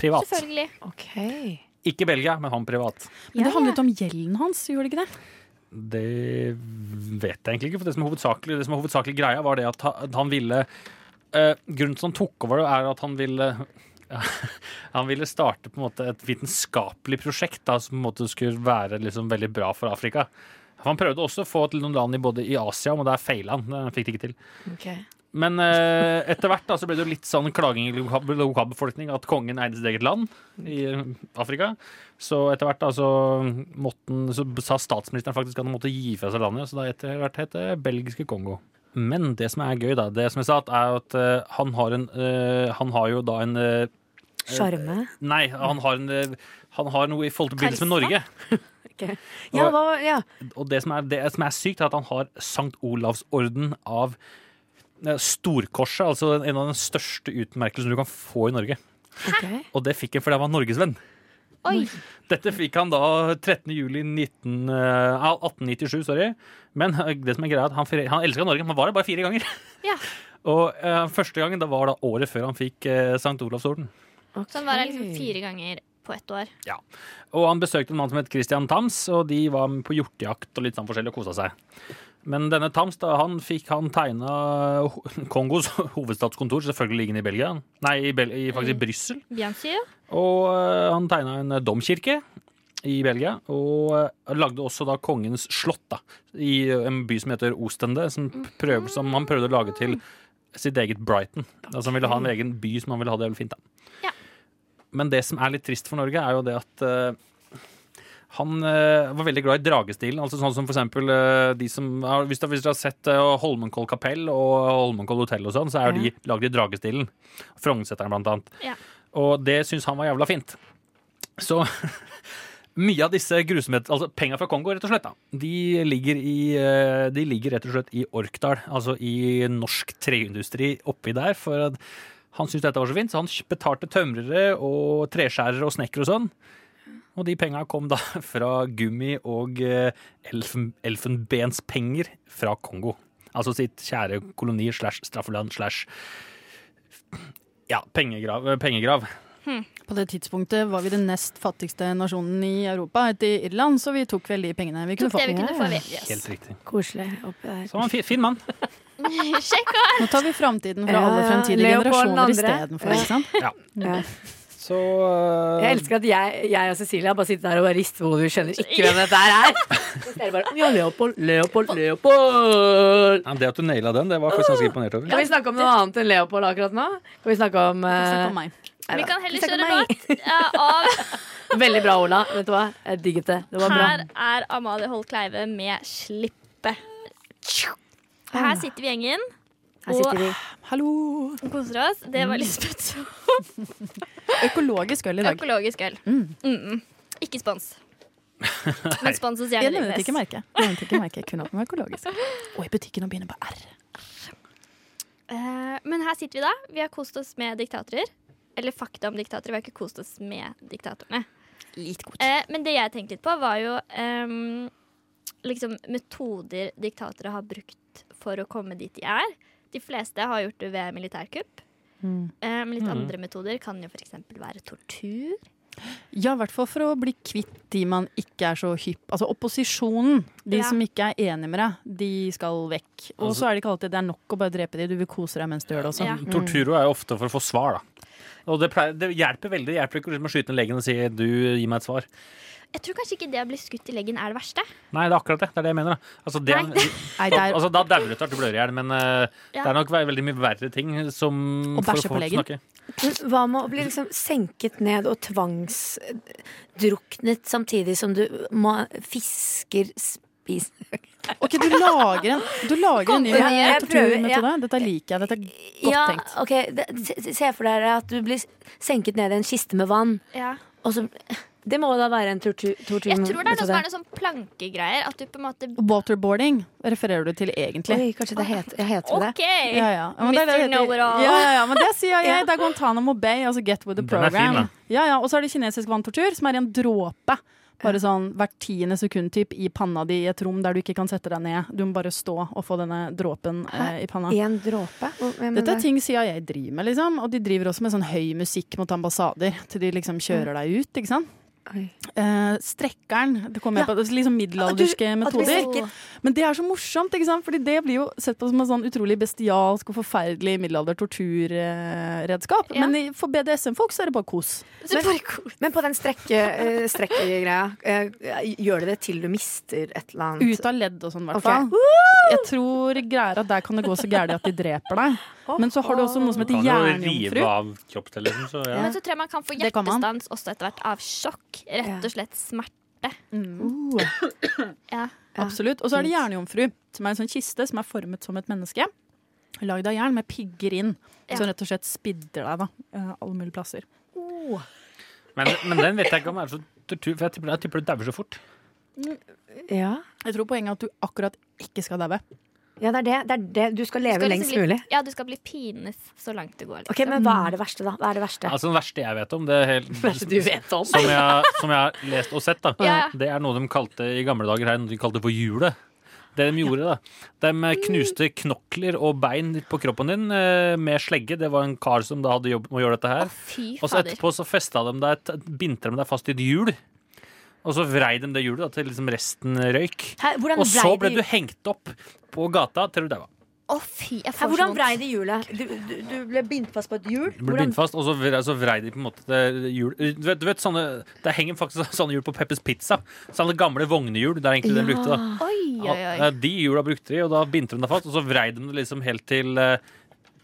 Speaker 1: privat.
Speaker 6: Selvfølgelig.
Speaker 7: Ok.
Speaker 1: Ikke Belgia, men han privat.
Speaker 4: Men det handlet om gjelden hans, gjorde det ikke det?
Speaker 1: Det vet jeg egentlig ikke. For det som er hovedsakelig, det som er hovedsakelig greia, var det at ha- at han ville eh, Grunnen til at han tok over, er at han ville han ville starte på en måte et vitenskapelig prosjekt da, som på en måte skulle være liksom veldig bra for Afrika. Han prøvde også å få til noen land i både i Asia, men der feila han. Han fikk det ikke til.
Speaker 7: ok.
Speaker 1: Men eh, etter hvert da, så ble det jo litt sånn klaging i lokal- lokalbefolkningen at kongen eide sitt eget land i eh, Afrika. Så etter hvert da, så, måtte han- så sa statsministeren faktisk at han måtte gi fra seg landet, så da etter hvert het det belgiske Kongo. Men det som er gøy, da, det som jeg sa, er at eh, han, har en, eh, han har jo da en eh,
Speaker 7: Sjarme.
Speaker 1: Nei, han har, en, eh, han har noe i forhold til forbindelse med
Speaker 6: Karisma?
Speaker 1: Norge.
Speaker 7: Ok. Ja, hva var ja.
Speaker 1: Og det som er, det som er sykt, er at han har Sankt Olavsorden av eh, Storkorset, altså den- en av den største utmerkelsen du kan få i Norge.
Speaker 7: ok.
Speaker 1: Og det fikk han fordi han var norgesvenn.
Speaker 6: Oi!
Speaker 1: Dette fikk han da 13. juli 19, eh, 1897, sorry. Men eh, det som er greia er at han, fire- han elska Norge, men han var her bare fire ganger.
Speaker 6: Ja.
Speaker 1: Og eh, første gangen da var da året før han fikk eh, Sankt Olavsorden.
Speaker 7: Ok.
Speaker 6: Så han var her liksom fire ganger på ett år.
Speaker 1: Og han besøkte en mann som het Christian Tams, og de var på hjortejakt og litt sånn forskjellig og kosa seg. Men denne Tams da, han fikk han tegna ho- Kongos hovedstatskontor, selvfølgelig liggende i Belgia. Nei, i Bel i, faktisk i Brussel.
Speaker 6: Bianchi.
Speaker 1: Og eh, han tegna en domkirke i Belgia. Og eh, lagde også da kongens slott da, i eh, en by som heter Ostende, som, prøv, som han prøvde å lage til sitt eget Brighton. Altså Han ville ha en egen by som han ville ha det jævlig fint. da.
Speaker 6: Ja.
Speaker 1: Men det som er litt trist for Norge, er jo det at eh, han eh, var veldig glad i dragestilen. Altså sånn som for eksempel eh, de som har- Hvis dere hvis dere har sett eh, Holmenkoll kapell og Holmenkoll hotell og sånn, så er jo
Speaker 7: Ja.
Speaker 1: de lagd i dragestilen. Frognerseteren, blant annet.
Speaker 6: Ja.
Speaker 1: Og det syns han var jævla fint. Så mye av disse grusomhetene, altså penga fra Kongo, rett og slett, da, de ligger, i, eh, de ligger rett og slett i Orkdal, altså i norsk treindustri oppi der. For at han syntes dette var så fint, så han betalte tømrere og treskjærere og snekkere og sånn. Og de penga kom da fra gummi og eh, elfen, elfenbenspenger fra Kongo. Altså sitt kjære koloni slash straffeland slash ja, pengegrav. pengegrav.
Speaker 4: På det tidspunktet var vi den nest fattigste nasjonen i Europa etter Irland, så vi tok vel de pengene vi kunne
Speaker 6: Tok
Speaker 4: få.
Speaker 6: det vi kunne få, vi.
Speaker 1: Helt riktig.
Speaker 7: Koselig oppi der.
Speaker 1: Så han var en fin, fin mann.
Speaker 6: Sjekk opp!
Speaker 4: Nå tar vi framtiden fra
Speaker 7: Ja,
Speaker 4: alle
Speaker 7: ja.
Speaker 4: fremtidige
Speaker 7: Leopold den
Speaker 4: generasjoner
Speaker 7: andre.
Speaker 4: istedenfor, ikke sant?
Speaker 7: Ja.
Speaker 1: Så
Speaker 7: Jeg elsker at jeg, jeg og Cecilia bare sitter der og bare rister på hodet. Vi skjønner ikke hvem dette her er. Så dere bare, ja, Leopold, Leopold, Leopold.
Speaker 1: ja, Det at du naila den, det var jeg faktisk ganske imponert over.
Speaker 7: Kan vi snakke om noe annet enn Leopold akkurat nå? Kan vi snakke om, eh,
Speaker 4: Snakk om meg.
Speaker 7: nei
Speaker 6: Vi
Speaker 7: da.
Speaker 6: kan heller
Speaker 7: snakke
Speaker 6: kjøre
Speaker 7: om meg.
Speaker 6: låt ja, av
Speaker 7: Veldig bra, Ola. Vet du hva? Jeg digget det. Det var bra.
Speaker 6: Her er Amalie Holt Kleive med 'Slippe'. Her sitter vi gjengen
Speaker 7: Her sitter vi.
Speaker 4: Hallo!
Speaker 6: og koser oss. Det var Lisbeth.
Speaker 4: Økologisk øl i dag.
Speaker 6: Økologisk øl. Mm -mm. Ikke spons. Men spons hos
Speaker 4: Jeg
Speaker 6: Jernet
Speaker 4: nevnte ikke
Speaker 6: Lindnes.
Speaker 4: merket. Nevnte ikke merket. Kun at den var økologisk. Og i butikken og begynner på R.
Speaker 6: Eh, Men her sitter vi da. Vi har kost oss med diktatorer. Eller fakta om diktatorer. Vi har ikke kost oss med diktatorene.
Speaker 4: Litt godt.
Speaker 6: Eh, Men det jeg tenkte litt på, var jo ehm, liksom metoder diktatorer har brukt for å komme dit de er. De fleste har gjort det ved militærkupp. Eh, Men litt andre metoder kan jo f.eks. være tortur.
Speaker 4: Ja, i hvert fall for å bli kvitt de man ikke er så hypp Altså opposisjonen, de
Speaker 6: Ja.
Speaker 4: som ikke er enige med deg, de skal vekk. Og så er det ikke alltid det er nok å bare drepe de, du vil kose deg mens du gjør det også.
Speaker 6: Ja.
Speaker 1: Torturo er jo ofte for å få svar, da. Og det, pleier, det hjelper veldig. Det hjelper ikke liksom å skyte ned legen og si 'du, gi meg et svar'.
Speaker 6: Jeg tror kanskje ikke det å bli skutt i leggen er det verste.
Speaker 1: Nei, det er akkurat det. Det er det jeg mener. Da. Altså, det,
Speaker 6: Nei.
Speaker 8: Nei, det er
Speaker 1: altså, da dauer du til at du blør i hjel, men eh,
Speaker 6: Ja.
Speaker 1: det er nok ve- veldig mye verre ting som
Speaker 8: Å
Speaker 1: får
Speaker 8: bæsje på
Speaker 1: folk
Speaker 8: legen.
Speaker 1: snakke.
Speaker 7: Men Hva med å bli liksom senket ned og tvangsdruknet samtidig som du må fisker spis...
Speaker 8: Ok, du lager en, du lager en ny
Speaker 7: Kom, jeg- jeg prøver,
Speaker 8: torturmetode. Dette liker jeg. Dette er godt
Speaker 7: ja,
Speaker 8: tenkt.
Speaker 7: ok, det, se, se for deg at du blir senket ned i en kiste med vann.
Speaker 6: Ja.
Speaker 7: Og så, det må jo da være en tortur... tortur
Speaker 6: Jeg tror det er noe som er noe sånn plankegreier. At du på en måte
Speaker 8: Waterboarding refererer du til egentlig.
Speaker 7: Oi, kanskje det heter, jeg heter det.
Speaker 6: OK!
Speaker 8: Ja, ja. Ja, men det
Speaker 6: Mr.
Speaker 8: er det det heter.
Speaker 6: Know-it-all.
Speaker 8: Ja, ja, ja, men det sier jeg. Det er Guantánamo Bay, altså Get with the
Speaker 1: Den er fin,
Speaker 8: program.
Speaker 1: da.
Speaker 8: ja, ja, og så er det kinesisk vanntortur, som er i en dråpe. Bare sånn hvert tiende sekund typ i panna di i et rom der du ikke kan sette deg ned. Du må bare stå og få denne dråpen eh, i panna.
Speaker 7: I en dråpe? Hvor- hvem er
Speaker 8: Dette er
Speaker 7: det?
Speaker 8: ting CIA driver med, liksom. Og de driver også med sånn høy musikk mot ambassader til de liksom kjører deg ut, ikke sant.
Speaker 7: Oi.
Speaker 8: Eh, strekkeren, det kommer jeg
Speaker 7: Ja.
Speaker 8: på. Det er liksom
Speaker 7: At du
Speaker 8: middelalderske
Speaker 7: blir
Speaker 8: metoder.
Speaker 7: senket.
Speaker 8: Men det er så morsomt, ikke sant? Fordi det blir jo sett på som en sånn utrolig bestialsk og forferdelig middelalder-torturredskap.
Speaker 6: Ja.
Speaker 8: Men i- for BDSM-folk så er det bare kos.
Speaker 6: Så bare kos.
Speaker 7: Men på den strekke, eh, strekkegreia, eh, gjør det det til du mister et eller annet?
Speaker 8: Ut av ledd og sånn, i
Speaker 7: Ok.
Speaker 8: hvert fall. Jeg tror greier at der kan det gå så gærent at de dreper deg. Men så har du også noe som
Speaker 1: Du
Speaker 8: heter
Speaker 1: kan jo rive
Speaker 8: jernjomfru.
Speaker 1: av kroppsdelen, så ja.
Speaker 6: Men så tror jeg man kan få
Speaker 8: Det kan man.
Speaker 6: hjertestans også etter hvert av sjokk. Rett og slett smerte. Ja.
Speaker 8: Absolutt. Og så er det jernjomfru, som er en sånn kiste som er formet som et menneske. Lagd av jern med pigger inn,
Speaker 6: Ja.
Speaker 8: som rett og slett spidder deg da, eh, alle mulige plasser.
Speaker 1: Men, men den vet jeg ikke om er så tortur, for jeg tipper, jeg tipper du dauer så fort.
Speaker 7: Ja.
Speaker 8: Jeg tror poenget er at du akkurat ikke skal daue.
Speaker 7: ja, det er det. det, er det. Du skal leve
Speaker 6: Skal liksom
Speaker 7: lengst
Speaker 6: bli-
Speaker 7: mulig.
Speaker 6: Ja, du skal bli pinet så langt det går. Liksom.
Speaker 7: Ok, Men hva er det verste, da? Hva er det verste?
Speaker 1: Altså, Den verste jeg vet om, det er helt,
Speaker 7: du vet om?
Speaker 1: som, jeg, som jeg har lest og sett, da,
Speaker 6: Ja.
Speaker 1: det er noe de kalte i gamle dager her, noe de kalte for hjulet. Det de gjorde, da. De eh,
Speaker 6: Mm.
Speaker 1: knuste knokler og bein på kroppen din eh, med slegge. Det var en kar som da hadde jobb med å gjøre dette her.
Speaker 6: Fy
Speaker 1: Og så
Speaker 6: fader.
Speaker 1: etterpå så festa de deg, et- bindte de deg fast i et hjul. Og så vrei de det hjulet da, til liksom resten røyk.
Speaker 7: Hæ, hvordan
Speaker 1: Og så
Speaker 7: vrei
Speaker 1: ble
Speaker 7: de-
Speaker 1: du hengt opp på gata til du daua.
Speaker 6: Å, fy, jeg
Speaker 7: Hæ,
Speaker 6: får
Speaker 7: hvordan
Speaker 6: så
Speaker 7: vrei
Speaker 6: vondt.
Speaker 7: de hjulet? Du, du, du ble bindt fast på et hjul?
Speaker 1: Du ble
Speaker 7: Hvordan-
Speaker 1: bindt fast, og så vrei, så vrei de på en måte det hjul du vet, du vet sånne Det henger faktisk sånne hjul på Peppers Pizza. Sånne gamle vognehjul. Det er egentlig det de brukte, da.
Speaker 6: Oi, oi,
Speaker 1: Ja,
Speaker 6: oi.
Speaker 1: De hjula brukte de, og da bindte de deg fast, og så vrei de det liksom helt til eh,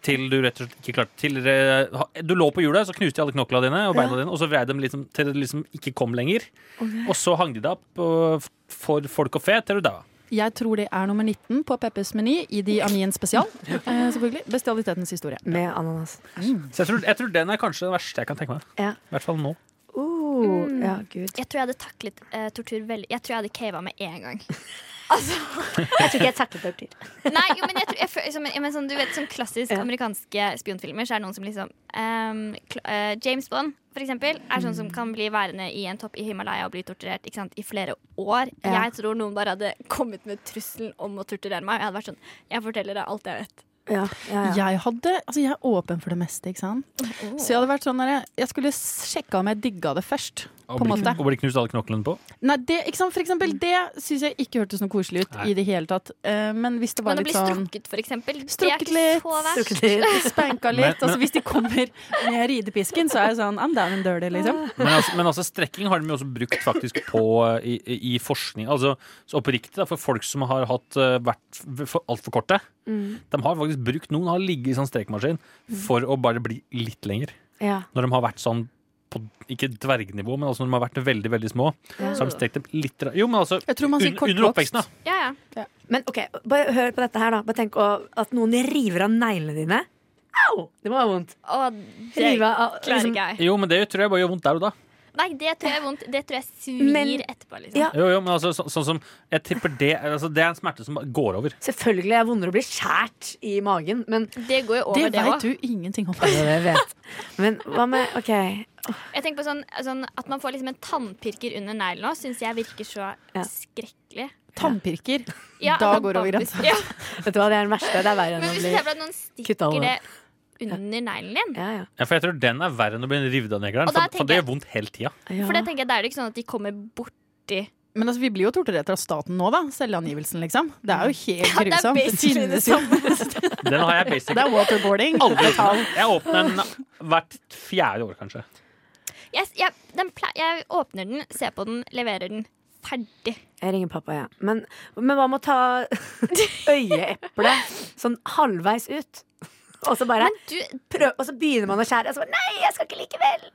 Speaker 1: til du rett og slett ikke klarte til, eh, ha- Du lå på hjulet, så knuste de alle knoklene dine og beina dine, og så vrei de liksom til det liksom ikke kom lenger. Og så hang de deg opp og, for folk og fe til du daua.
Speaker 8: Jeg tror det er nummer 19 på Peppers meny i De Amien spesial. Eh, selvfølgelig. Bestialitetens historie.
Speaker 7: Med ananas.
Speaker 1: Så jeg tror, jeg tror den er kanskje den verste jeg kan tenke meg.
Speaker 7: Ja.
Speaker 1: I hvert fall nå.
Speaker 7: Uh, ja, gud.
Speaker 6: Jeg tror jeg hadde taklet eh, tortur veldig Jeg tror jeg hadde cava med en gang.
Speaker 7: Jeg tror ikke jeg taklet tortur.
Speaker 6: Nei, jo, men jeg tror jeg, føler- som, ja, men sånn, Du vet sånn klassisk
Speaker 7: Ja.
Speaker 6: amerikanske spionfilmer, så er det noen som liksom ehm, kl- eh, James Bond, for eksempel, er sånn som
Speaker 7: Mm.
Speaker 6: kan bli værende i en topp i Himalaya og bli torturert ikke sant, i flere år.
Speaker 7: Ja.
Speaker 6: Jeg tror noen bare hadde kommet med trusselen om å torturere meg. og Jeg hadde vært sånn Jeg forteller deg alt jeg vet.
Speaker 7: Ja, ja, ja.
Speaker 8: Jeg, hadde, altså jeg er åpen for det meste, ikke sant. Så jeg hadde vært sånn der, jeg- jeg skulle sjekke om jeg digga det først. På
Speaker 1: Og bli,
Speaker 8: en måte.
Speaker 1: og bli knust alle knoklene på.
Speaker 8: Nei, det, ikke sant? For eksempel, det syns jeg ikke hørtes noe koselig ut
Speaker 1: Nei.
Speaker 8: i det hele tatt. Eh, men hvis det var
Speaker 6: Men å
Speaker 8: litt
Speaker 6: bli
Speaker 8: sånn
Speaker 6: strukket, for eksempel,
Speaker 8: Strukket
Speaker 6: det er ikke
Speaker 8: litt.
Speaker 6: så verst.
Speaker 8: Spanka litt.
Speaker 1: Men-
Speaker 8: Altså, hvis de kommer med ridepisken, så er jeg sånn I'm down and dirty, liksom.
Speaker 1: Men altså, men altså strekking har de jo også brukt faktisk på eh, i, i- i forskning. Altså så oppriktig da, for folk som har hatt, eh, vært v- for altfor korte.
Speaker 7: Mm.
Speaker 1: De har faktisk brukt noen har ligget i sånn strekmaskin for å bare bli litt lenger.
Speaker 7: ja.
Speaker 1: Når de har vært sånn på, ikke dvergnivå, men altså når de har vært veldig veldig små. Så har de strekt dem litt ra- Jo, men altså
Speaker 8: Jeg tror man sier
Speaker 1: under, under
Speaker 8: kortvokst.
Speaker 1: oppveksten, da.
Speaker 6: Ja, ja.
Speaker 7: Men ok, bare hør på dette her, da. Bare tenk å, at noen river av neglene dine. Au! Det må ha vondt.
Speaker 6: Og det
Speaker 7: Rive av
Speaker 6: klarer
Speaker 7: liksom,
Speaker 6: ikke jeg.
Speaker 1: Jo, men det tror jeg bare gjør vondt der og da.
Speaker 6: Nei, det tror jeg er vondt. Det tror jeg svir
Speaker 7: Men-
Speaker 6: etterpå. Liksom.
Speaker 7: Ja.
Speaker 1: Jo, jo, men altså så, sånn som Jeg tipper det altså, Det er en smerte som bare går over.
Speaker 7: Selvfølgelig er det vondere å bli skjært i magen, men
Speaker 6: Det går jo over,
Speaker 8: Det
Speaker 6: det
Speaker 8: veit
Speaker 6: òg.
Speaker 8: du ingenting om.
Speaker 7: Jeg vet. Men hva med OK.
Speaker 6: Jeg tenker på sånn, sånn At man får liksom en tannpirker under neglen òg, syns jeg virker så
Speaker 7: Ja.
Speaker 6: skrekkelig.
Speaker 8: Tannpirker.
Speaker 6: Ja,
Speaker 8: Da
Speaker 6: at man
Speaker 8: går det over
Speaker 6: bambus-
Speaker 8: grensa.
Speaker 6: Ja.
Speaker 7: Vet du hva, det er den verste. Det er verre enn
Speaker 6: Men
Speaker 7: å
Speaker 6: hvis du
Speaker 7: bli
Speaker 6: ser for deg at noen
Speaker 7: Kutt av
Speaker 6: stikker det under neglen din
Speaker 7: ja, ja.
Speaker 1: Ja, for jeg tror den er verre enn å bli revet av negleren.
Speaker 6: Og da
Speaker 1: For, for
Speaker 6: tenker
Speaker 1: det
Speaker 6: jeg-
Speaker 1: gjør vondt hele tida.
Speaker 7: Ja.
Speaker 6: For det tenker jeg, da er det ikke sånn at de kommer borti
Speaker 8: Men altså, vi blir jo torturert av staten nå, da. Selvangivelsen, liksom. Det er jo
Speaker 6: Mm. Ja,
Speaker 8: helt
Speaker 6: det er
Speaker 8: grusomt. Det
Speaker 6: basically det
Speaker 8: finnes jo.
Speaker 1: Den har jeg basic.
Speaker 8: Det er waterboarding.
Speaker 1: Aldri. Jeg åpner den hvert fjerde år, kanskje.
Speaker 6: Jeg, jeg, den ple- jeg åpner den, ser på den, leverer den. Ferdig.
Speaker 7: Jeg ringer pappa, ja. Men, men hva med å ta øyeeplet sånn halvveis ut? Og så bare
Speaker 6: Men du,
Speaker 7: prøv, Og så begynner man å skjære, og så bare Nei, jeg skal ikke likevel!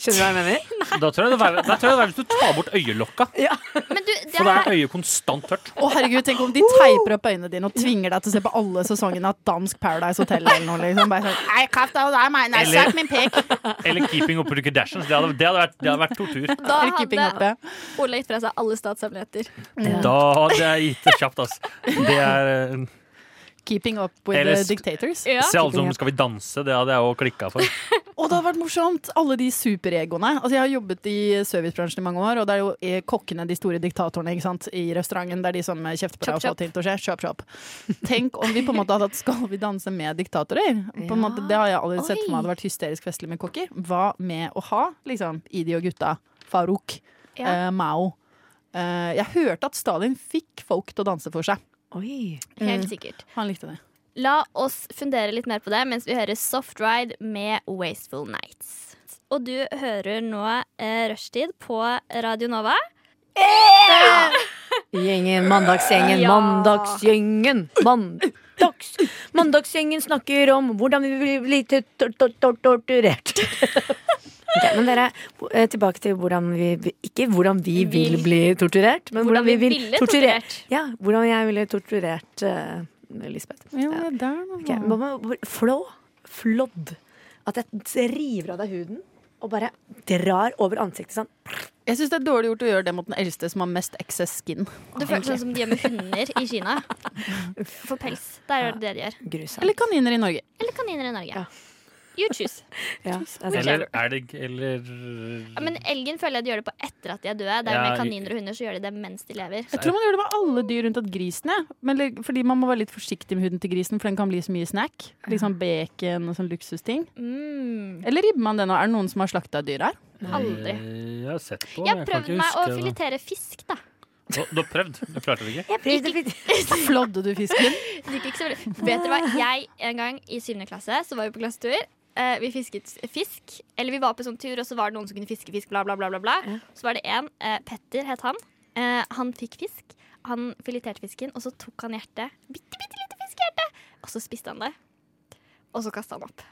Speaker 7: Skjønner du hva jeg mener?
Speaker 1: Da tror jeg det er, da tror jeg det er hvis du tar bort øyelokka.
Speaker 6: men du det
Speaker 1: For da
Speaker 6: er,
Speaker 1: er øyet konstant tørt.
Speaker 8: Å herregud, tenk om de teiper opp øynene dine og tvinger deg til å se på alle sesongene av dansk Paradise Hotel eller noe. Liksom. Bare sånn, «Nei, kraft av deg, meg. Nei,
Speaker 1: Eller-
Speaker 8: sett min pek.
Speaker 1: Eller keeping oppe Rucker Dashes. Det hadde, det, hadde vært, det hadde vært tortur.
Speaker 6: da
Speaker 8: Eller keeping
Speaker 6: hadde
Speaker 8: oppe.
Speaker 6: Ola gitt fra seg alle statshemmeligheter.
Speaker 1: Da hadde jeg gitt det kjapt, ass. Det er eh,
Speaker 8: Keeping up with
Speaker 1: Eller
Speaker 8: the
Speaker 1: s-
Speaker 8: dictators.
Speaker 6: Ja.
Speaker 1: Se alle som Skal vi danse, det hadde jeg òg klikka for.
Speaker 8: Og det hadde vært morsomt. Alle de superegoene. Altså, jeg har jobbet i servicebransjen i mange år, og det er jo eh, kokkene de store diktatorene ikke sant? i restauranten. Det er de som eh, kjefter på deg
Speaker 6: Chop,
Speaker 8: og får
Speaker 6: chop.
Speaker 8: ting til å skje. Kjøp, kjøp. Tenk om vi på en måte hadde hatt Skal vi danse med diktatorer? På en måte, det har jeg aldri sett for meg hadde vært hysterisk festlig med kokker. Hva med å ha liksom, Idi og gutta? Farouk.
Speaker 6: Ja.
Speaker 8: eh, Mao. Eh, jeg hørte at Stalin fikk folk til å danse for seg.
Speaker 7: Oi.
Speaker 6: Helt sikkert.
Speaker 8: Han likte det.
Speaker 6: La oss fundere litt mer på det mens vi hører Soft Ride med Wasteful Nights. Og du hører nå eh, Rushtid på Radio Nova.
Speaker 7: Gjengen, mandagsgjengen, mandagsgjengen. Mandags. Mandagsgjengen snakker om hvordan vi vil bli tor- tor- tor- tor- torturert. Ok, men dere, eh, tilbake til hvordan vi Ikke hvordan vi
Speaker 6: Vil.
Speaker 7: vil bli torturert, men hvordan, vi vil
Speaker 6: ville
Speaker 7: torturere.
Speaker 6: torturert.
Speaker 7: Ja, hvordan jeg ville torturert eh, Lisbeth. Ja. Ok, hva med- hvor- Flå. Flådd. At jeg river av deg huden og bare drar over ansiktet sånn.
Speaker 8: Jeg syns det er dårlig gjort å gjøre det mot den eldste som har mest excess skin.
Speaker 6: Det føles sånn som de gjør med hunder i Kina. For pels. Der er det det de gjør.
Speaker 7: Grusomt.
Speaker 8: Eller kaniner i Norge.
Speaker 6: Eller kaniner i Norge. You choose.
Speaker 7: Ja, det er sant.
Speaker 1: Eller elg, eller
Speaker 6: Ja, men elgen føler jeg de gjør det på etter at de er døde. Det er jo
Speaker 1: Ja,
Speaker 6: med kaniner og hunder så gjør de det mens de lever.
Speaker 8: Jeg tror man gjør det med alle dyr unntatt grisen. jeg. Men, li- fordi man må være litt forsiktig med huden til grisen, for den kan bli så mye snack. Liksom bacon og sånn luksusting.
Speaker 6: Mm,
Speaker 8: Eller ribber man det nå? Er det noen som har slakta dyr her?
Speaker 6: aldri.
Speaker 1: eh, Jeg har sett på, men
Speaker 6: Jeg
Speaker 1: jeg
Speaker 6: har
Speaker 1: kan
Speaker 6: prøvd
Speaker 1: ikke
Speaker 6: meg å
Speaker 1: huske det.
Speaker 6: filetere fisk, da.
Speaker 1: Du du har prøvd, du klarte det ikke?
Speaker 8: Flådde du fisken?
Speaker 6: Det gikk ikke så veldig. Vet dere hva? Jeg en gang i syvende klasse så var vi på klassetur. Eh, vi fisket fisk. Eller vi var på sånn tur, og så var det noen som kunne fiske fisk, bla, bla, bla. bla, bla. Så var det en. Eh, Petter het han. Eh, han fikk fisk. Han fileterte fisken, og så tok han hjertet. Bitte, bitte lite fiskehjerte. Og så spiste han det. Og så kasta han opp.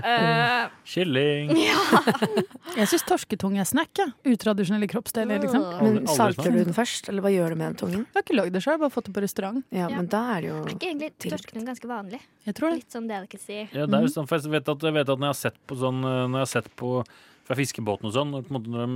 Speaker 6: Eh,
Speaker 1: Kylling.
Speaker 8: Jeg syns torsketung er snack. Ja. Utradisjonelle kroppsdeler, liksom.
Speaker 1: Aldri-
Speaker 7: Men
Speaker 1: aldri
Speaker 7: salter
Speaker 1: smakt.
Speaker 7: du den først, eller hva gjør du med den tungen?
Speaker 8: Jeg har ikke lagd det sjøl, bare fått det på restaurant.
Speaker 7: Ja,
Speaker 6: Ja.
Speaker 7: men da er det jo
Speaker 6: er ikke egentlig
Speaker 7: Til-
Speaker 6: torsketunge ganske vanlig?
Speaker 8: Jeg tror det.
Speaker 6: Litt sånn delicacy.
Speaker 1: Ja, det er jo sånn, for jeg vet at, jeg vet at når jeg har sett på sånn eh, Når jeg har sett på fra fiskebåten og sånn, når, på en måte, når de,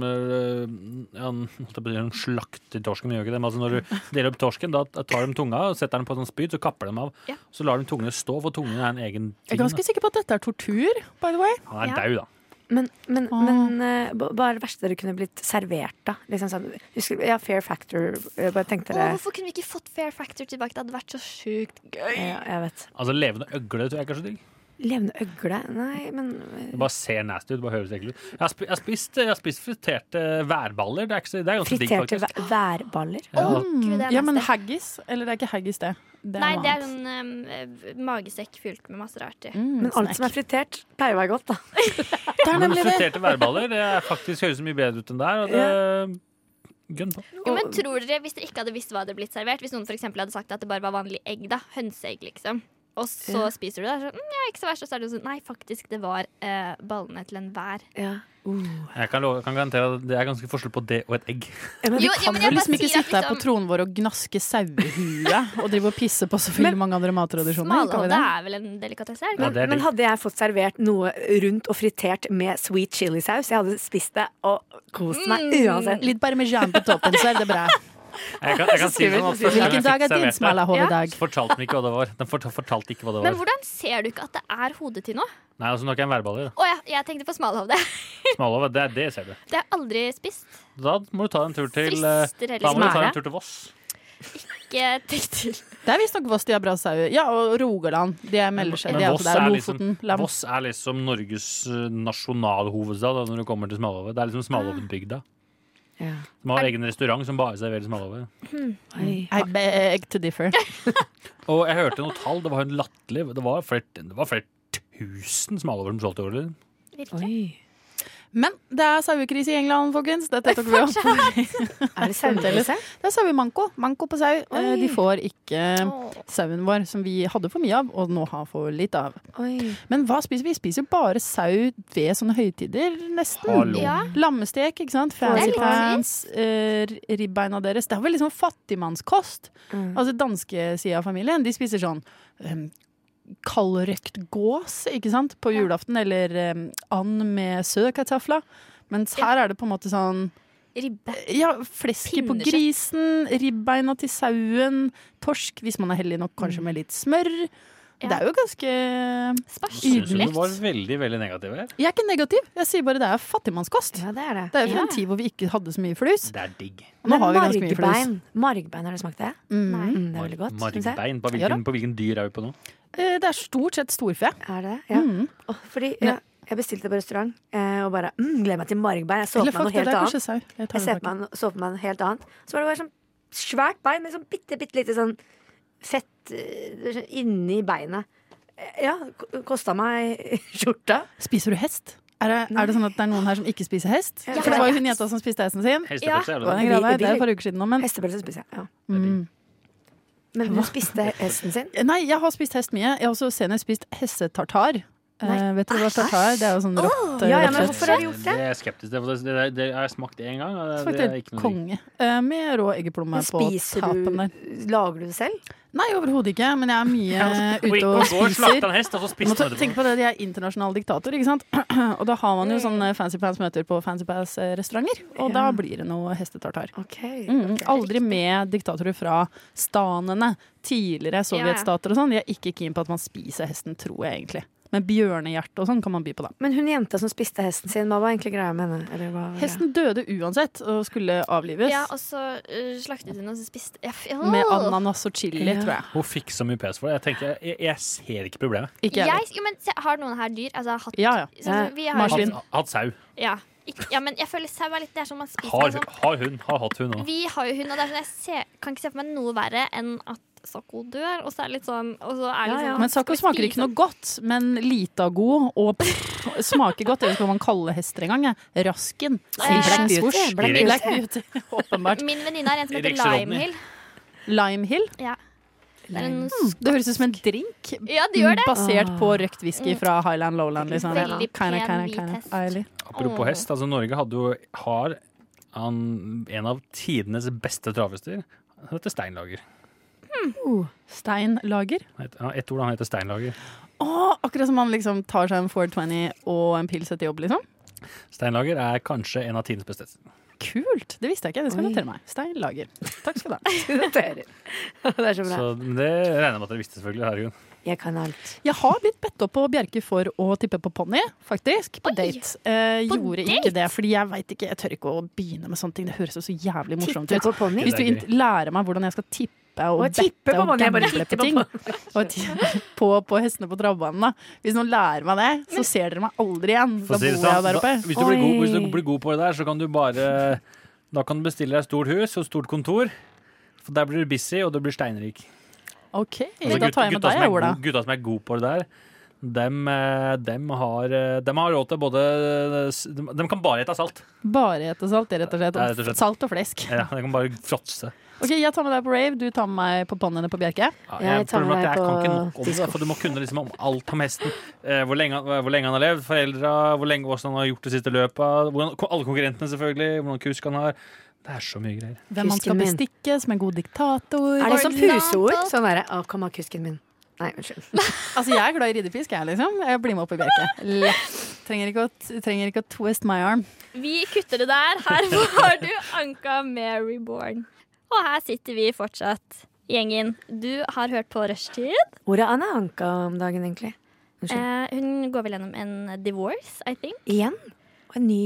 Speaker 1: eh, ja, holdt jeg på å si, de slakter torsken, men gjør ikke det. Men altså, når du deler opp torsken, da tar de tunga og setter den på en sånn spyd, så kapper de av.
Speaker 6: Ja.
Speaker 1: Så lar de tungene stå, for tungen er en egen
Speaker 8: Jeg er
Speaker 1: ting. da.
Speaker 8: ganske sikker på at dette er tortur, by the way.
Speaker 1: Han er
Speaker 6: Ja.
Speaker 1: daud, da.
Speaker 7: Men, men,
Speaker 8: Åh.
Speaker 7: men eh, b- hva er det verste dere kunne blitt servert, da? Liksom sånn, husker, ja, Fair Factor. eh, Bare tenkte
Speaker 6: Å,
Speaker 7: dere
Speaker 6: hvorfor kunne vi ikke fått Fair Factor tilbake? Det hadde vært så sjukt gøy.
Speaker 7: ja, Jeg vet.
Speaker 1: Altså Levende øgle tror jeg ikke er så digg.
Speaker 7: Levende øgle? Nei, men
Speaker 1: Det bare ser nasty ut. bare høres ekkelt ut. Jeg har, spi- jeg har spist, jeg har spist friterte værballer. Det er, ikke så, det er ganske digg,
Speaker 7: Friterte
Speaker 1: faktisk.
Speaker 7: væ- værballer?
Speaker 1: Ja.
Speaker 6: Gud, det er
Speaker 8: Hmm. Ja, men
Speaker 6: nasty.
Speaker 8: haggis Eller det er ikke haggis, det. det
Speaker 6: Nei,
Speaker 8: noe
Speaker 6: det er
Speaker 8: annet.
Speaker 6: en eh, magesekk fylt med masse rart i.
Speaker 8: Mm,
Speaker 7: Men alt som er
Speaker 8: snack.
Speaker 7: fritert, pleier å være godt, da.
Speaker 8: Det er
Speaker 1: Men
Speaker 8: nemlig det.
Speaker 1: friterte værballer det er faktisk høres mye bedre ut enn der. Og det Gønn på.
Speaker 6: Jo, men tror dere, Hvis dere ikke hadde visst hva det hadde blitt servert Hvis noen for eksempel hadde sagt at det bare var vanlig egg, da hønseegg, liksom og så
Speaker 7: Ja.
Speaker 6: spiser du det. og er Sånn, mm, ja, ikke så verst. Og så er det sånn, nei, faktisk, det var eh, ballene til enhver.
Speaker 7: Ja.
Speaker 1: Jeg kan, love, kan garantere at det er ganske forskjell på det og et egg.
Speaker 7: Ja, men
Speaker 6: Jo,
Speaker 7: vi
Speaker 6: ja,
Speaker 7: kan
Speaker 6: men
Speaker 8: Du
Speaker 6: jeg bare
Speaker 7: vel-
Speaker 8: kan liksom ikke
Speaker 6: sier at
Speaker 8: sitte her på
Speaker 6: liksom-
Speaker 8: tronen vår og gnaske sauehue og drive og pisse på så veldig mange andre mattradisjoner. Kan vi
Speaker 6: Smalahode
Speaker 8: det?
Speaker 6: er vel en delikatesse? er det
Speaker 1: Ja,
Speaker 6: ikke?
Speaker 1: det er
Speaker 7: men
Speaker 1: digg.
Speaker 7: hadde jeg fått servert noe rundt og fritert med sweet chilisaus, jeg hadde spist det og kost meg uansett.
Speaker 8: Litt parmesan på toppen, så er det bra.
Speaker 1: Jeg kan, jeg kan si sånn at første gang jeg
Speaker 8: Hvilken dag
Speaker 1: fikk
Speaker 8: er din
Speaker 1: servert det,
Speaker 8: smalahove i dag?
Speaker 1: så fortalte den ikke hva det var. Den fort- fortalte ikke hva det
Speaker 6: Men
Speaker 1: var.
Speaker 6: hvordan ser du ikke at det er hodet til nå? Å
Speaker 1: Nei, altså, nå er ikke jeg en værballer.
Speaker 6: ja, jeg tenkte på smalahode.
Speaker 1: da. Smalahove, det er det, ser du.
Speaker 6: Det har jeg aldri spist.
Speaker 1: Da må du ta en tur til eh,
Speaker 6: Frister eller
Speaker 1: Da må du ta
Speaker 7: smære.
Speaker 1: en tur til Voss.
Speaker 6: Ikke tenkt til.
Speaker 8: Det er visstnok Voss de har bra sau. Ja, og Rogaland. De er melder seg.
Speaker 1: Men
Speaker 8: De er
Speaker 1: Voss
Speaker 8: også der.
Speaker 1: er liksom-
Speaker 8: Lofoten. Lam.
Speaker 1: Voss er liksom Norges eh, nasjonalhovedstad da, når det kommer til Smalahove. Det er liksom Smalhovedbygda.
Speaker 7: Ja.
Speaker 1: Som har egen restaurant som bare serverer smalahove.
Speaker 7: Oi.
Speaker 8: I beg to differ.
Speaker 1: Og jeg hørte noen tall, det var jo latterlig. Det var flere, det var flere tusen smalover som solgte i år. eller?
Speaker 6: Virkelig.
Speaker 7: Oi.
Speaker 8: Men det er sauekrise i England, folkens. Dette tok vi opp.
Speaker 7: Er det sauekrise?
Speaker 8: Det er sauemanko. Manko på sau. Eh,
Speaker 7: Oi.
Speaker 8: De får ikke
Speaker 6: Åh.
Speaker 8: sauen vår, som vi hadde for mye av, og nå har for litt av.
Speaker 7: Oi.
Speaker 8: Men hva spiser vi? Vi spiser jo bare sau ved sånne høytider, nesten.
Speaker 1: Hallo.
Speaker 6: Ja.
Speaker 8: Lammestek, ikke sant?
Speaker 6: Det er
Speaker 8: Fancy
Speaker 6: litt
Speaker 8: pants, eh, ribbeina deres. Det er vel liksom fattigmannskost.
Speaker 7: Mm.
Speaker 8: Altså danske sida av familien, de spiser sånn um, kaldrøkt gås, ikke sant, på julaften, eller um, and med søkartofla. Mens her er det på en måte sånn
Speaker 6: Ribbe.
Speaker 8: ja, flesket på
Speaker 6: Pinnekjøtt.
Speaker 8: grisen, ribbeina til sauen, torsk hvis man er heldig nok, kanskje
Speaker 7: Mm.
Speaker 8: med litt smør.
Speaker 6: Ja.
Speaker 8: Det er jo ganske
Speaker 6: Spars.
Speaker 1: Synes du
Speaker 8: ydmykt.
Speaker 1: det var veldig, veldig negativ her?
Speaker 8: Jeg er ikke negativ, jeg sier bare det er fattigmannskost.
Speaker 7: Ja, det er det.
Speaker 8: Det er jo fra
Speaker 7: Ja.
Speaker 8: en tid hvor vi ikke hadde så mye flus.
Speaker 1: Det er digg.
Speaker 8: Og nå
Speaker 7: Men
Speaker 8: har vi ganske mye flus.
Speaker 7: margbein. Margbein, har du smakt det?
Speaker 8: Mm.
Speaker 7: Mm, det er veldig godt. synes jeg.
Speaker 1: Margbein. På
Speaker 8: Ja da.
Speaker 1: hvilken, på hvilken dyr er vi på nå?
Speaker 8: Eh, Det er stort sett storfe.
Speaker 7: Er det det? Ja.
Speaker 8: Mm.
Speaker 7: Åh, fordi ja, jeg bestilte på restaurant eh, og bare mm, gleder meg til margbein. Jeg så
Speaker 8: Eller
Speaker 7: på meg noe
Speaker 8: faktisk, det
Speaker 7: helt
Speaker 8: er
Speaker 7: annet.
Speaker 8: kanskje sau. Jeg tar
Speaker 7: Jeg ser
Speaker 8: det
Speaker 7: på meg, så på meg noe helt annet. Så var det bare sånn svært bein med sånn bitte, bitte lite sånn fett eh, sånn inni beinet. Eh, Ja, k- kosta meg skjorta.
Speaker 8: Spiser du hest? Er det, er det sånn at det er noen her som ikke spiser hest?
Speaker 7: Ja,
Speaker 8: For det
Speaker 7: men-
Speaker 8: var jo hun jenta som spiste hesten sin.
Speaker 1: Hestepølse,
Speaker 8: Det
Speaker 1: er
Speaker 8: var
Speaker 1: det
Speaker 8: en
Speaker 1: det?
Speaker 8: greie der,
Speaker 7: Vi-
Speaker 8: det
Speaker 7: vi-
Speaker 8: er et par uker siden nå, men
Speaker 7: Hestepølse spiser jeg. Ja.
Speaker 8: mm.
Speaker 7: Men hun spiste hesten sin.
Speaker 8: Nei, jeg har spist hest mye. Jeg har også senest spist hestetartar.
Speaker 7: Nei.
Speaker 8: Eh, vet du hva tartar? Det er jo sånn rått. eh,
Speaker 7: ja, ja, men
Speaker 8: rett og slett.
Speaker 7: hvorfor har vi gjort det?
Speaker 1: Det er jeg skeptisk til. for Det, det, det har jeg smakt én gang. Og det,
Speaker 8: Smakte
Speaker 1: det er
Speaker 8: helt
Speaker 1: ikke noe digg.
Speaker 8: konge. Eh, med rå eggeplomme
Speaker 7: Men
Speaker 8: på
Speaker 7: spiser
Speaker 8: tapen der.
Speaker 7: du Lager du det selv?
Speaker 8: Nei, overhodet ikke, men jeg er mye
Speaker 1: altså, Oi,
Speaker 8: ute
Speaker 1: nå
Speaker 8: og
Speaker 1: går slakta
Speaker 8: spiser.
Speaker 1: en hest, og så
Speaker 8: Man
Speaker 1: spiste
Speaker 8: må
Speaker 1: han
Speaker 8: tenke
Speaker 1: etterpå.
Speaker 8: på det, de er internasjonale diktatorer, ikke sant? Og da har man jo sånne Fancy Pants-møter på Fancy Pants-restauranter, og da
Speaker 7: Mm. Ja.
Speaker 8: blir det noe hestetartar.
Speaker 7: Ok.
Speaker 8: Mm, aldri med diktatorer fra stanene, tidligere sovjetstater og sånn. De er ikke keen på at man spiser hesten, tror jeg egentlig. Men bjørnehjerte og sånn kan man by på, da.
Speaker 7: Men hun jenta som spiste hesten sin, hva var egentlig greia med henne? Eller hva,
Speaker 8: Hesten døde uansett og skulle avlives.
Speaker 6: Ja, og så eh, slaktet hun og så spiste ja, f- åh.
Speaker 8: Med ananas og chili,
Speaker 7: Ja.
Speaker 8: tror jeg.
Speaker 1: Hun fikk så mye pes for det. Jeg tenkte, jeg, jeg ser ikke problemet.
Speaker 8: Ikke jeg.
Speaker 6: Jeg, jo, men se, har noen her dyr? Altså, hatt,
Speaker 8: Ja, ja.
Speaker 6: sånn, som vi har,
Speaker 8: Marsvin.
Speaker 1: Hatt, hatt sau.
Speaker 6: Ja, Ikke- ja, men jeg føler sau er litt Det er som man spiser
Speaker 1: Har,
Speaker 6: liksom.
Speaker 1: har hun. Har hatt hun òg.
Speaker 6: Vi har jo hund, og det er sånn, jeg ser, kan ikke se for meg noe verre enn at Sako dør. Og så er det litt sånn, og så er det
Speaker 7: Ja,
Speaker 6: litt
Speaker 7: ja.
Speaker 6: sånn
Speaker 8: Men Sako smaker ikke noe godt, men lite av god og pff, smaker godt. Eller skal man kalle hester engang? jeg. Rasken.
Speaker 6: Black
Speaker 8: Silsjen.
Speaker 7: Beauty,
Speaker 8: Svosj.
Speaker 7: Black
Speaker 1: Beauty.
Speaker 8: Black Beauty. Åpenbart.
Speaker 6: Min venninne er en som heter
Speaker 1: Erik Sjodny.
Speaker 6: Limehill.
Speaker 8: Limehill.
Speaker 6: Ja. Det er en
Speaker 8: Mm, Det høres ut som en drink
Speaker 6: Ja, det gjør det.
Speaker 8: basert på røkt whisky fra Highland Lowland. Liksom.
Speaker 6: Veldig pen hvit hest.
Speaker 8: Eilig.
Speaker 1: Apropos
Speaker 6: Åh.
Speaker 1: hest. altså Norge hadde jo, har han, en av tidenes beste travhester. Han heter Steinlager.
Speaker 8: Stein Lager.
Speaker 1: Han heter- ja, Ett ord, han heter Steinlager.
Speaker 8: Å, akkurat som man liksom tar seg en 420 og en pils etter jobb, liksom.
Speaker 1: Steinlager er kanskje en av tidenes beste.
Speaker 8: Kult! Det visste jeg ikke. Det skal
Speaker 7: Oi.
Speaker 8: jeg notere meg. Stein Lager. Takk skal du ha.
Speaker 7: Noterer. det er så bra.
Speaker 1: Så det regner jeg med at dere visste, selvfølgelig. Herregud.
Speaker 7: Jeg kan alt.
Speaker 8: Jeg har blitt bedt opp på Bjerke for å tippe på ponni, faktisk. På
Speaker 6: Oi!
Speaker 8: date. Eh,
Speaker 6: På
Speaker 8: gjorde
Speaker 6: date?
Speaker 8: ikke det, fordi jeg veit ikke. Jeg tør ikke å begynne med sånne ting. Det høres jo så jævlig morsomt
Speaker 7: Titte
Speaker 8: ut.
Speaker 7: på ponni.
Speaker 8: Hvis du int- lærer meg hvordan jeg skal tippe og,
Speaker 7: Og tippe
Speaker 8: bette
Speaker 7: på
Speaker 8: og
Speaker 7: ponni. Jeg bare
Speaker 8: gamble
Speaker 7: titter
Speaker 8: på
Speaker 7: på
Speaker 8: ting, og ti- på, på hestene på travbanen, da. Hvis noen lærer meg det, så ser dere meg aldri igjen.
Speaker 1: For
Speaker 8: Da
Speaker 1: å si det
Speaker 8: bor jeg jo
Speaker 1: sånn,
Speaker 8: der oppe.
Speaker 1: da- Hvis du, blir god, hvis
Speaker 7: Oi.
Speaker 1: du blir god på det der, så kan du bare Da kan du bestille deg et stort hus og stort kontor. For der blir du busy, og du blir steinrik.
Speaker 8: OK,
Speaker 1: Altså,
Speaker 8: da
Speaker 1: gut-
Speaker 8: tar jeg med
Speaker 1: gutta, som
Speaker 8: deg,
Speaker 1: er
Speaker 8: Ola.
Speaker 1: god- gutta som er gode på det der, dem, eh, dem, har, eh, dem har råd til både eh, s- dem- Dem kan bare ete salt.
Speaker 8: Bare ete salt, det er rett og slett.
Speaker 1: Det er rett og slett.
Speaker 8: Salt og flesk.
Speaker 1: Ja, de kan bare fråtse.
Speaker 8: OK, jeg tar med deg på rave, du tar med meg på ponniene på Bjerke.
Speaker 1: Ja,
Speaker 7: Ja, jeg tar
Speaker 1: problemet er at jeg
Speaker 7: meg
Speaker 1: kan ikke
Speaker 7: på
Speaker 1: nok om det,
Speaker 7: disco.
Speaker 1: for du må kunne liksom om alt om hesten. Eh, hvor, lenge, han- hvor lenge han har levd, foreldra, hvor lenge hvordan han har gjort det siste løpet. Hvordan, alle konkurrentene, selvfølgelig. Hvordan kusk han har. Det er så mye greier.
Speaker 8: Hvem man skal
Speaker 7: Kusken min.
Speaker 8: bestikke som en god diktator.
Speaker 7: Er det sånn
Speaker 6: Ordentlig.
Speaker 7: puseord? Sånn derre Å, kom av kusken min. Nei, unnskyld.
Speaker 8: Altså, jeg er glad i ridderfisk, jeg, liksom. Jeg blir med opp i Bjerke. Lett. Trenger ikke, å, trenger ikke å twist my arm.
Speaker 6: Vi kutter det der. Her får du Anka med Reborn. Og her sitter vi fortsatt, gjengen. Du har hørt på Rushtid.
Speaker 7: Hvor er Anna Anka om dagen, egentlig? Unnskyld.
Speaker 6: Eh, hun går vel gjennom en divorce, I think.
Speaker 7: Igjen? Og en ny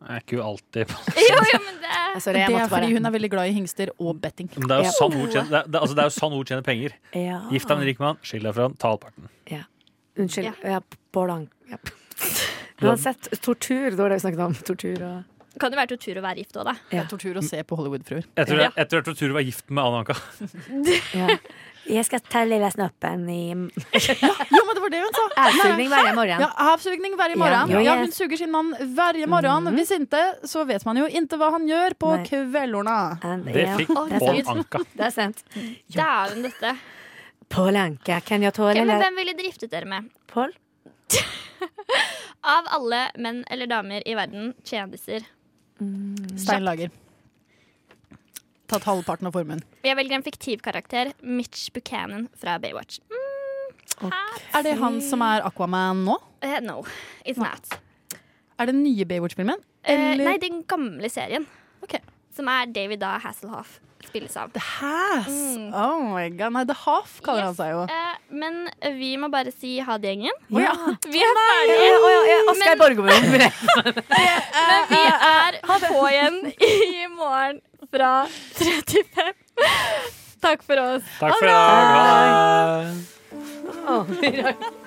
Speaker 1: Jeg er ikke jo alltid på
Speaker 6: Jo, jo, men det er
Speaker 7: Nei, Sorry, jeg
Speaker 8: det er
Speaker 7: måtte bare
Speaker 8: fordi hun er veldig glad i hingster og betting.
Speaker 1: Men det er
Speaker 7: Ja.
Speaker 1: jo sann ord tjener, det er, det, er- altså, det er jo sann ord tjener penger.
Speaker 7: ja.
Speaker 1: Gift deg med en rik mann, skill deg fra han, ta halvparten.
Speaker 7: Unnskyld.
Speaker 6: Ja.
Speaker 7: Ja. Bård Ank. Ja. Uansett, tortur. Det var det vi snakket om. Tortur og
Speaker 6: Kan jo være tortur å være gift òg, da.
Speaker 8: Det er tortur å se på Hollywood-fruer.
Speaker 1: Jeg tror jeg, jeg tror jeg tror Ture var gift med Anna-Anka.
Speaker 7: Ja. Jeg skal ta lille snoppen i
Speaker 8: Jo, men det var det hun sa!
Speaker 7: avsugning hver
Speaker 8: Ja,
Speaker 7: morgen.
Speaker 8: Avsugning hver morgen.
Speaker 7: Ja, ja.
Speaker 8: Ja, hun suger sin mann hver morgen. Hvis ikke, så vet man jo ikke hva han gjør på
Speaker 7: Nei.
Speaker 8: kveldorna.
Speaker 7: And-
Speaker 1: Det
Speaker 7: ja,
Speaker 1: fikk
Speaker 6: Å,
Speaker 1: Pål
Speaker 6: Gud.
Speaker 1: Anka.
Speaker 7: det er sant.
Speaker 6: Dæven døtte.
Speaker 7: Pål Anka, kan jeg tåle
Speaker 6: Ok, men
Speaker 7: det?
Speaker 6: hvem ville dere giftet dere med?
Speaker 7: Pål?
Speaker 6: Av alle menn eller damer i verden, kjendiser.
Speaker 8: Stein Lager. Tatt halvparten av formuen.
Speaker 6: Jeg velger en fiktiv karakter. Mitch Buchanan fra Baywatch. Mm,
Speaker 8: Er det han som er Aquaman nå?
Speaker 6: Eh, no, it's not.
Speaker 8: Er det den nye Baywatch-filmen?
Speaker 6: Eh,
Speaker 8: Eller
Speaker 6: nei, den gamle serien.
Speaker 8: Ok.
Speaker 6: Som er David Da Hasselhoff spilles av.
Speaker 8: The Hass?
Speaker 6: Mm.
Speaker 8: Oh my god. Nei, The Half kaller han
Speaker 6: Yes.
Speaker 8: seg jo.
Speaker 6: Eh, men vi må bare si ha det, gjengen.
Speaker 8: Ja.
Speaker 6: Vi er ferdige.
Speaker 8: altså,
Speaker 7: Asgeir Borgermoen.
Speaker 6: Men vi er på igjen i morgen fra 35. Takk for oss.
Speaker 1: Takk for i dag. Ha det.
Speaker 7: Å, vi rakk-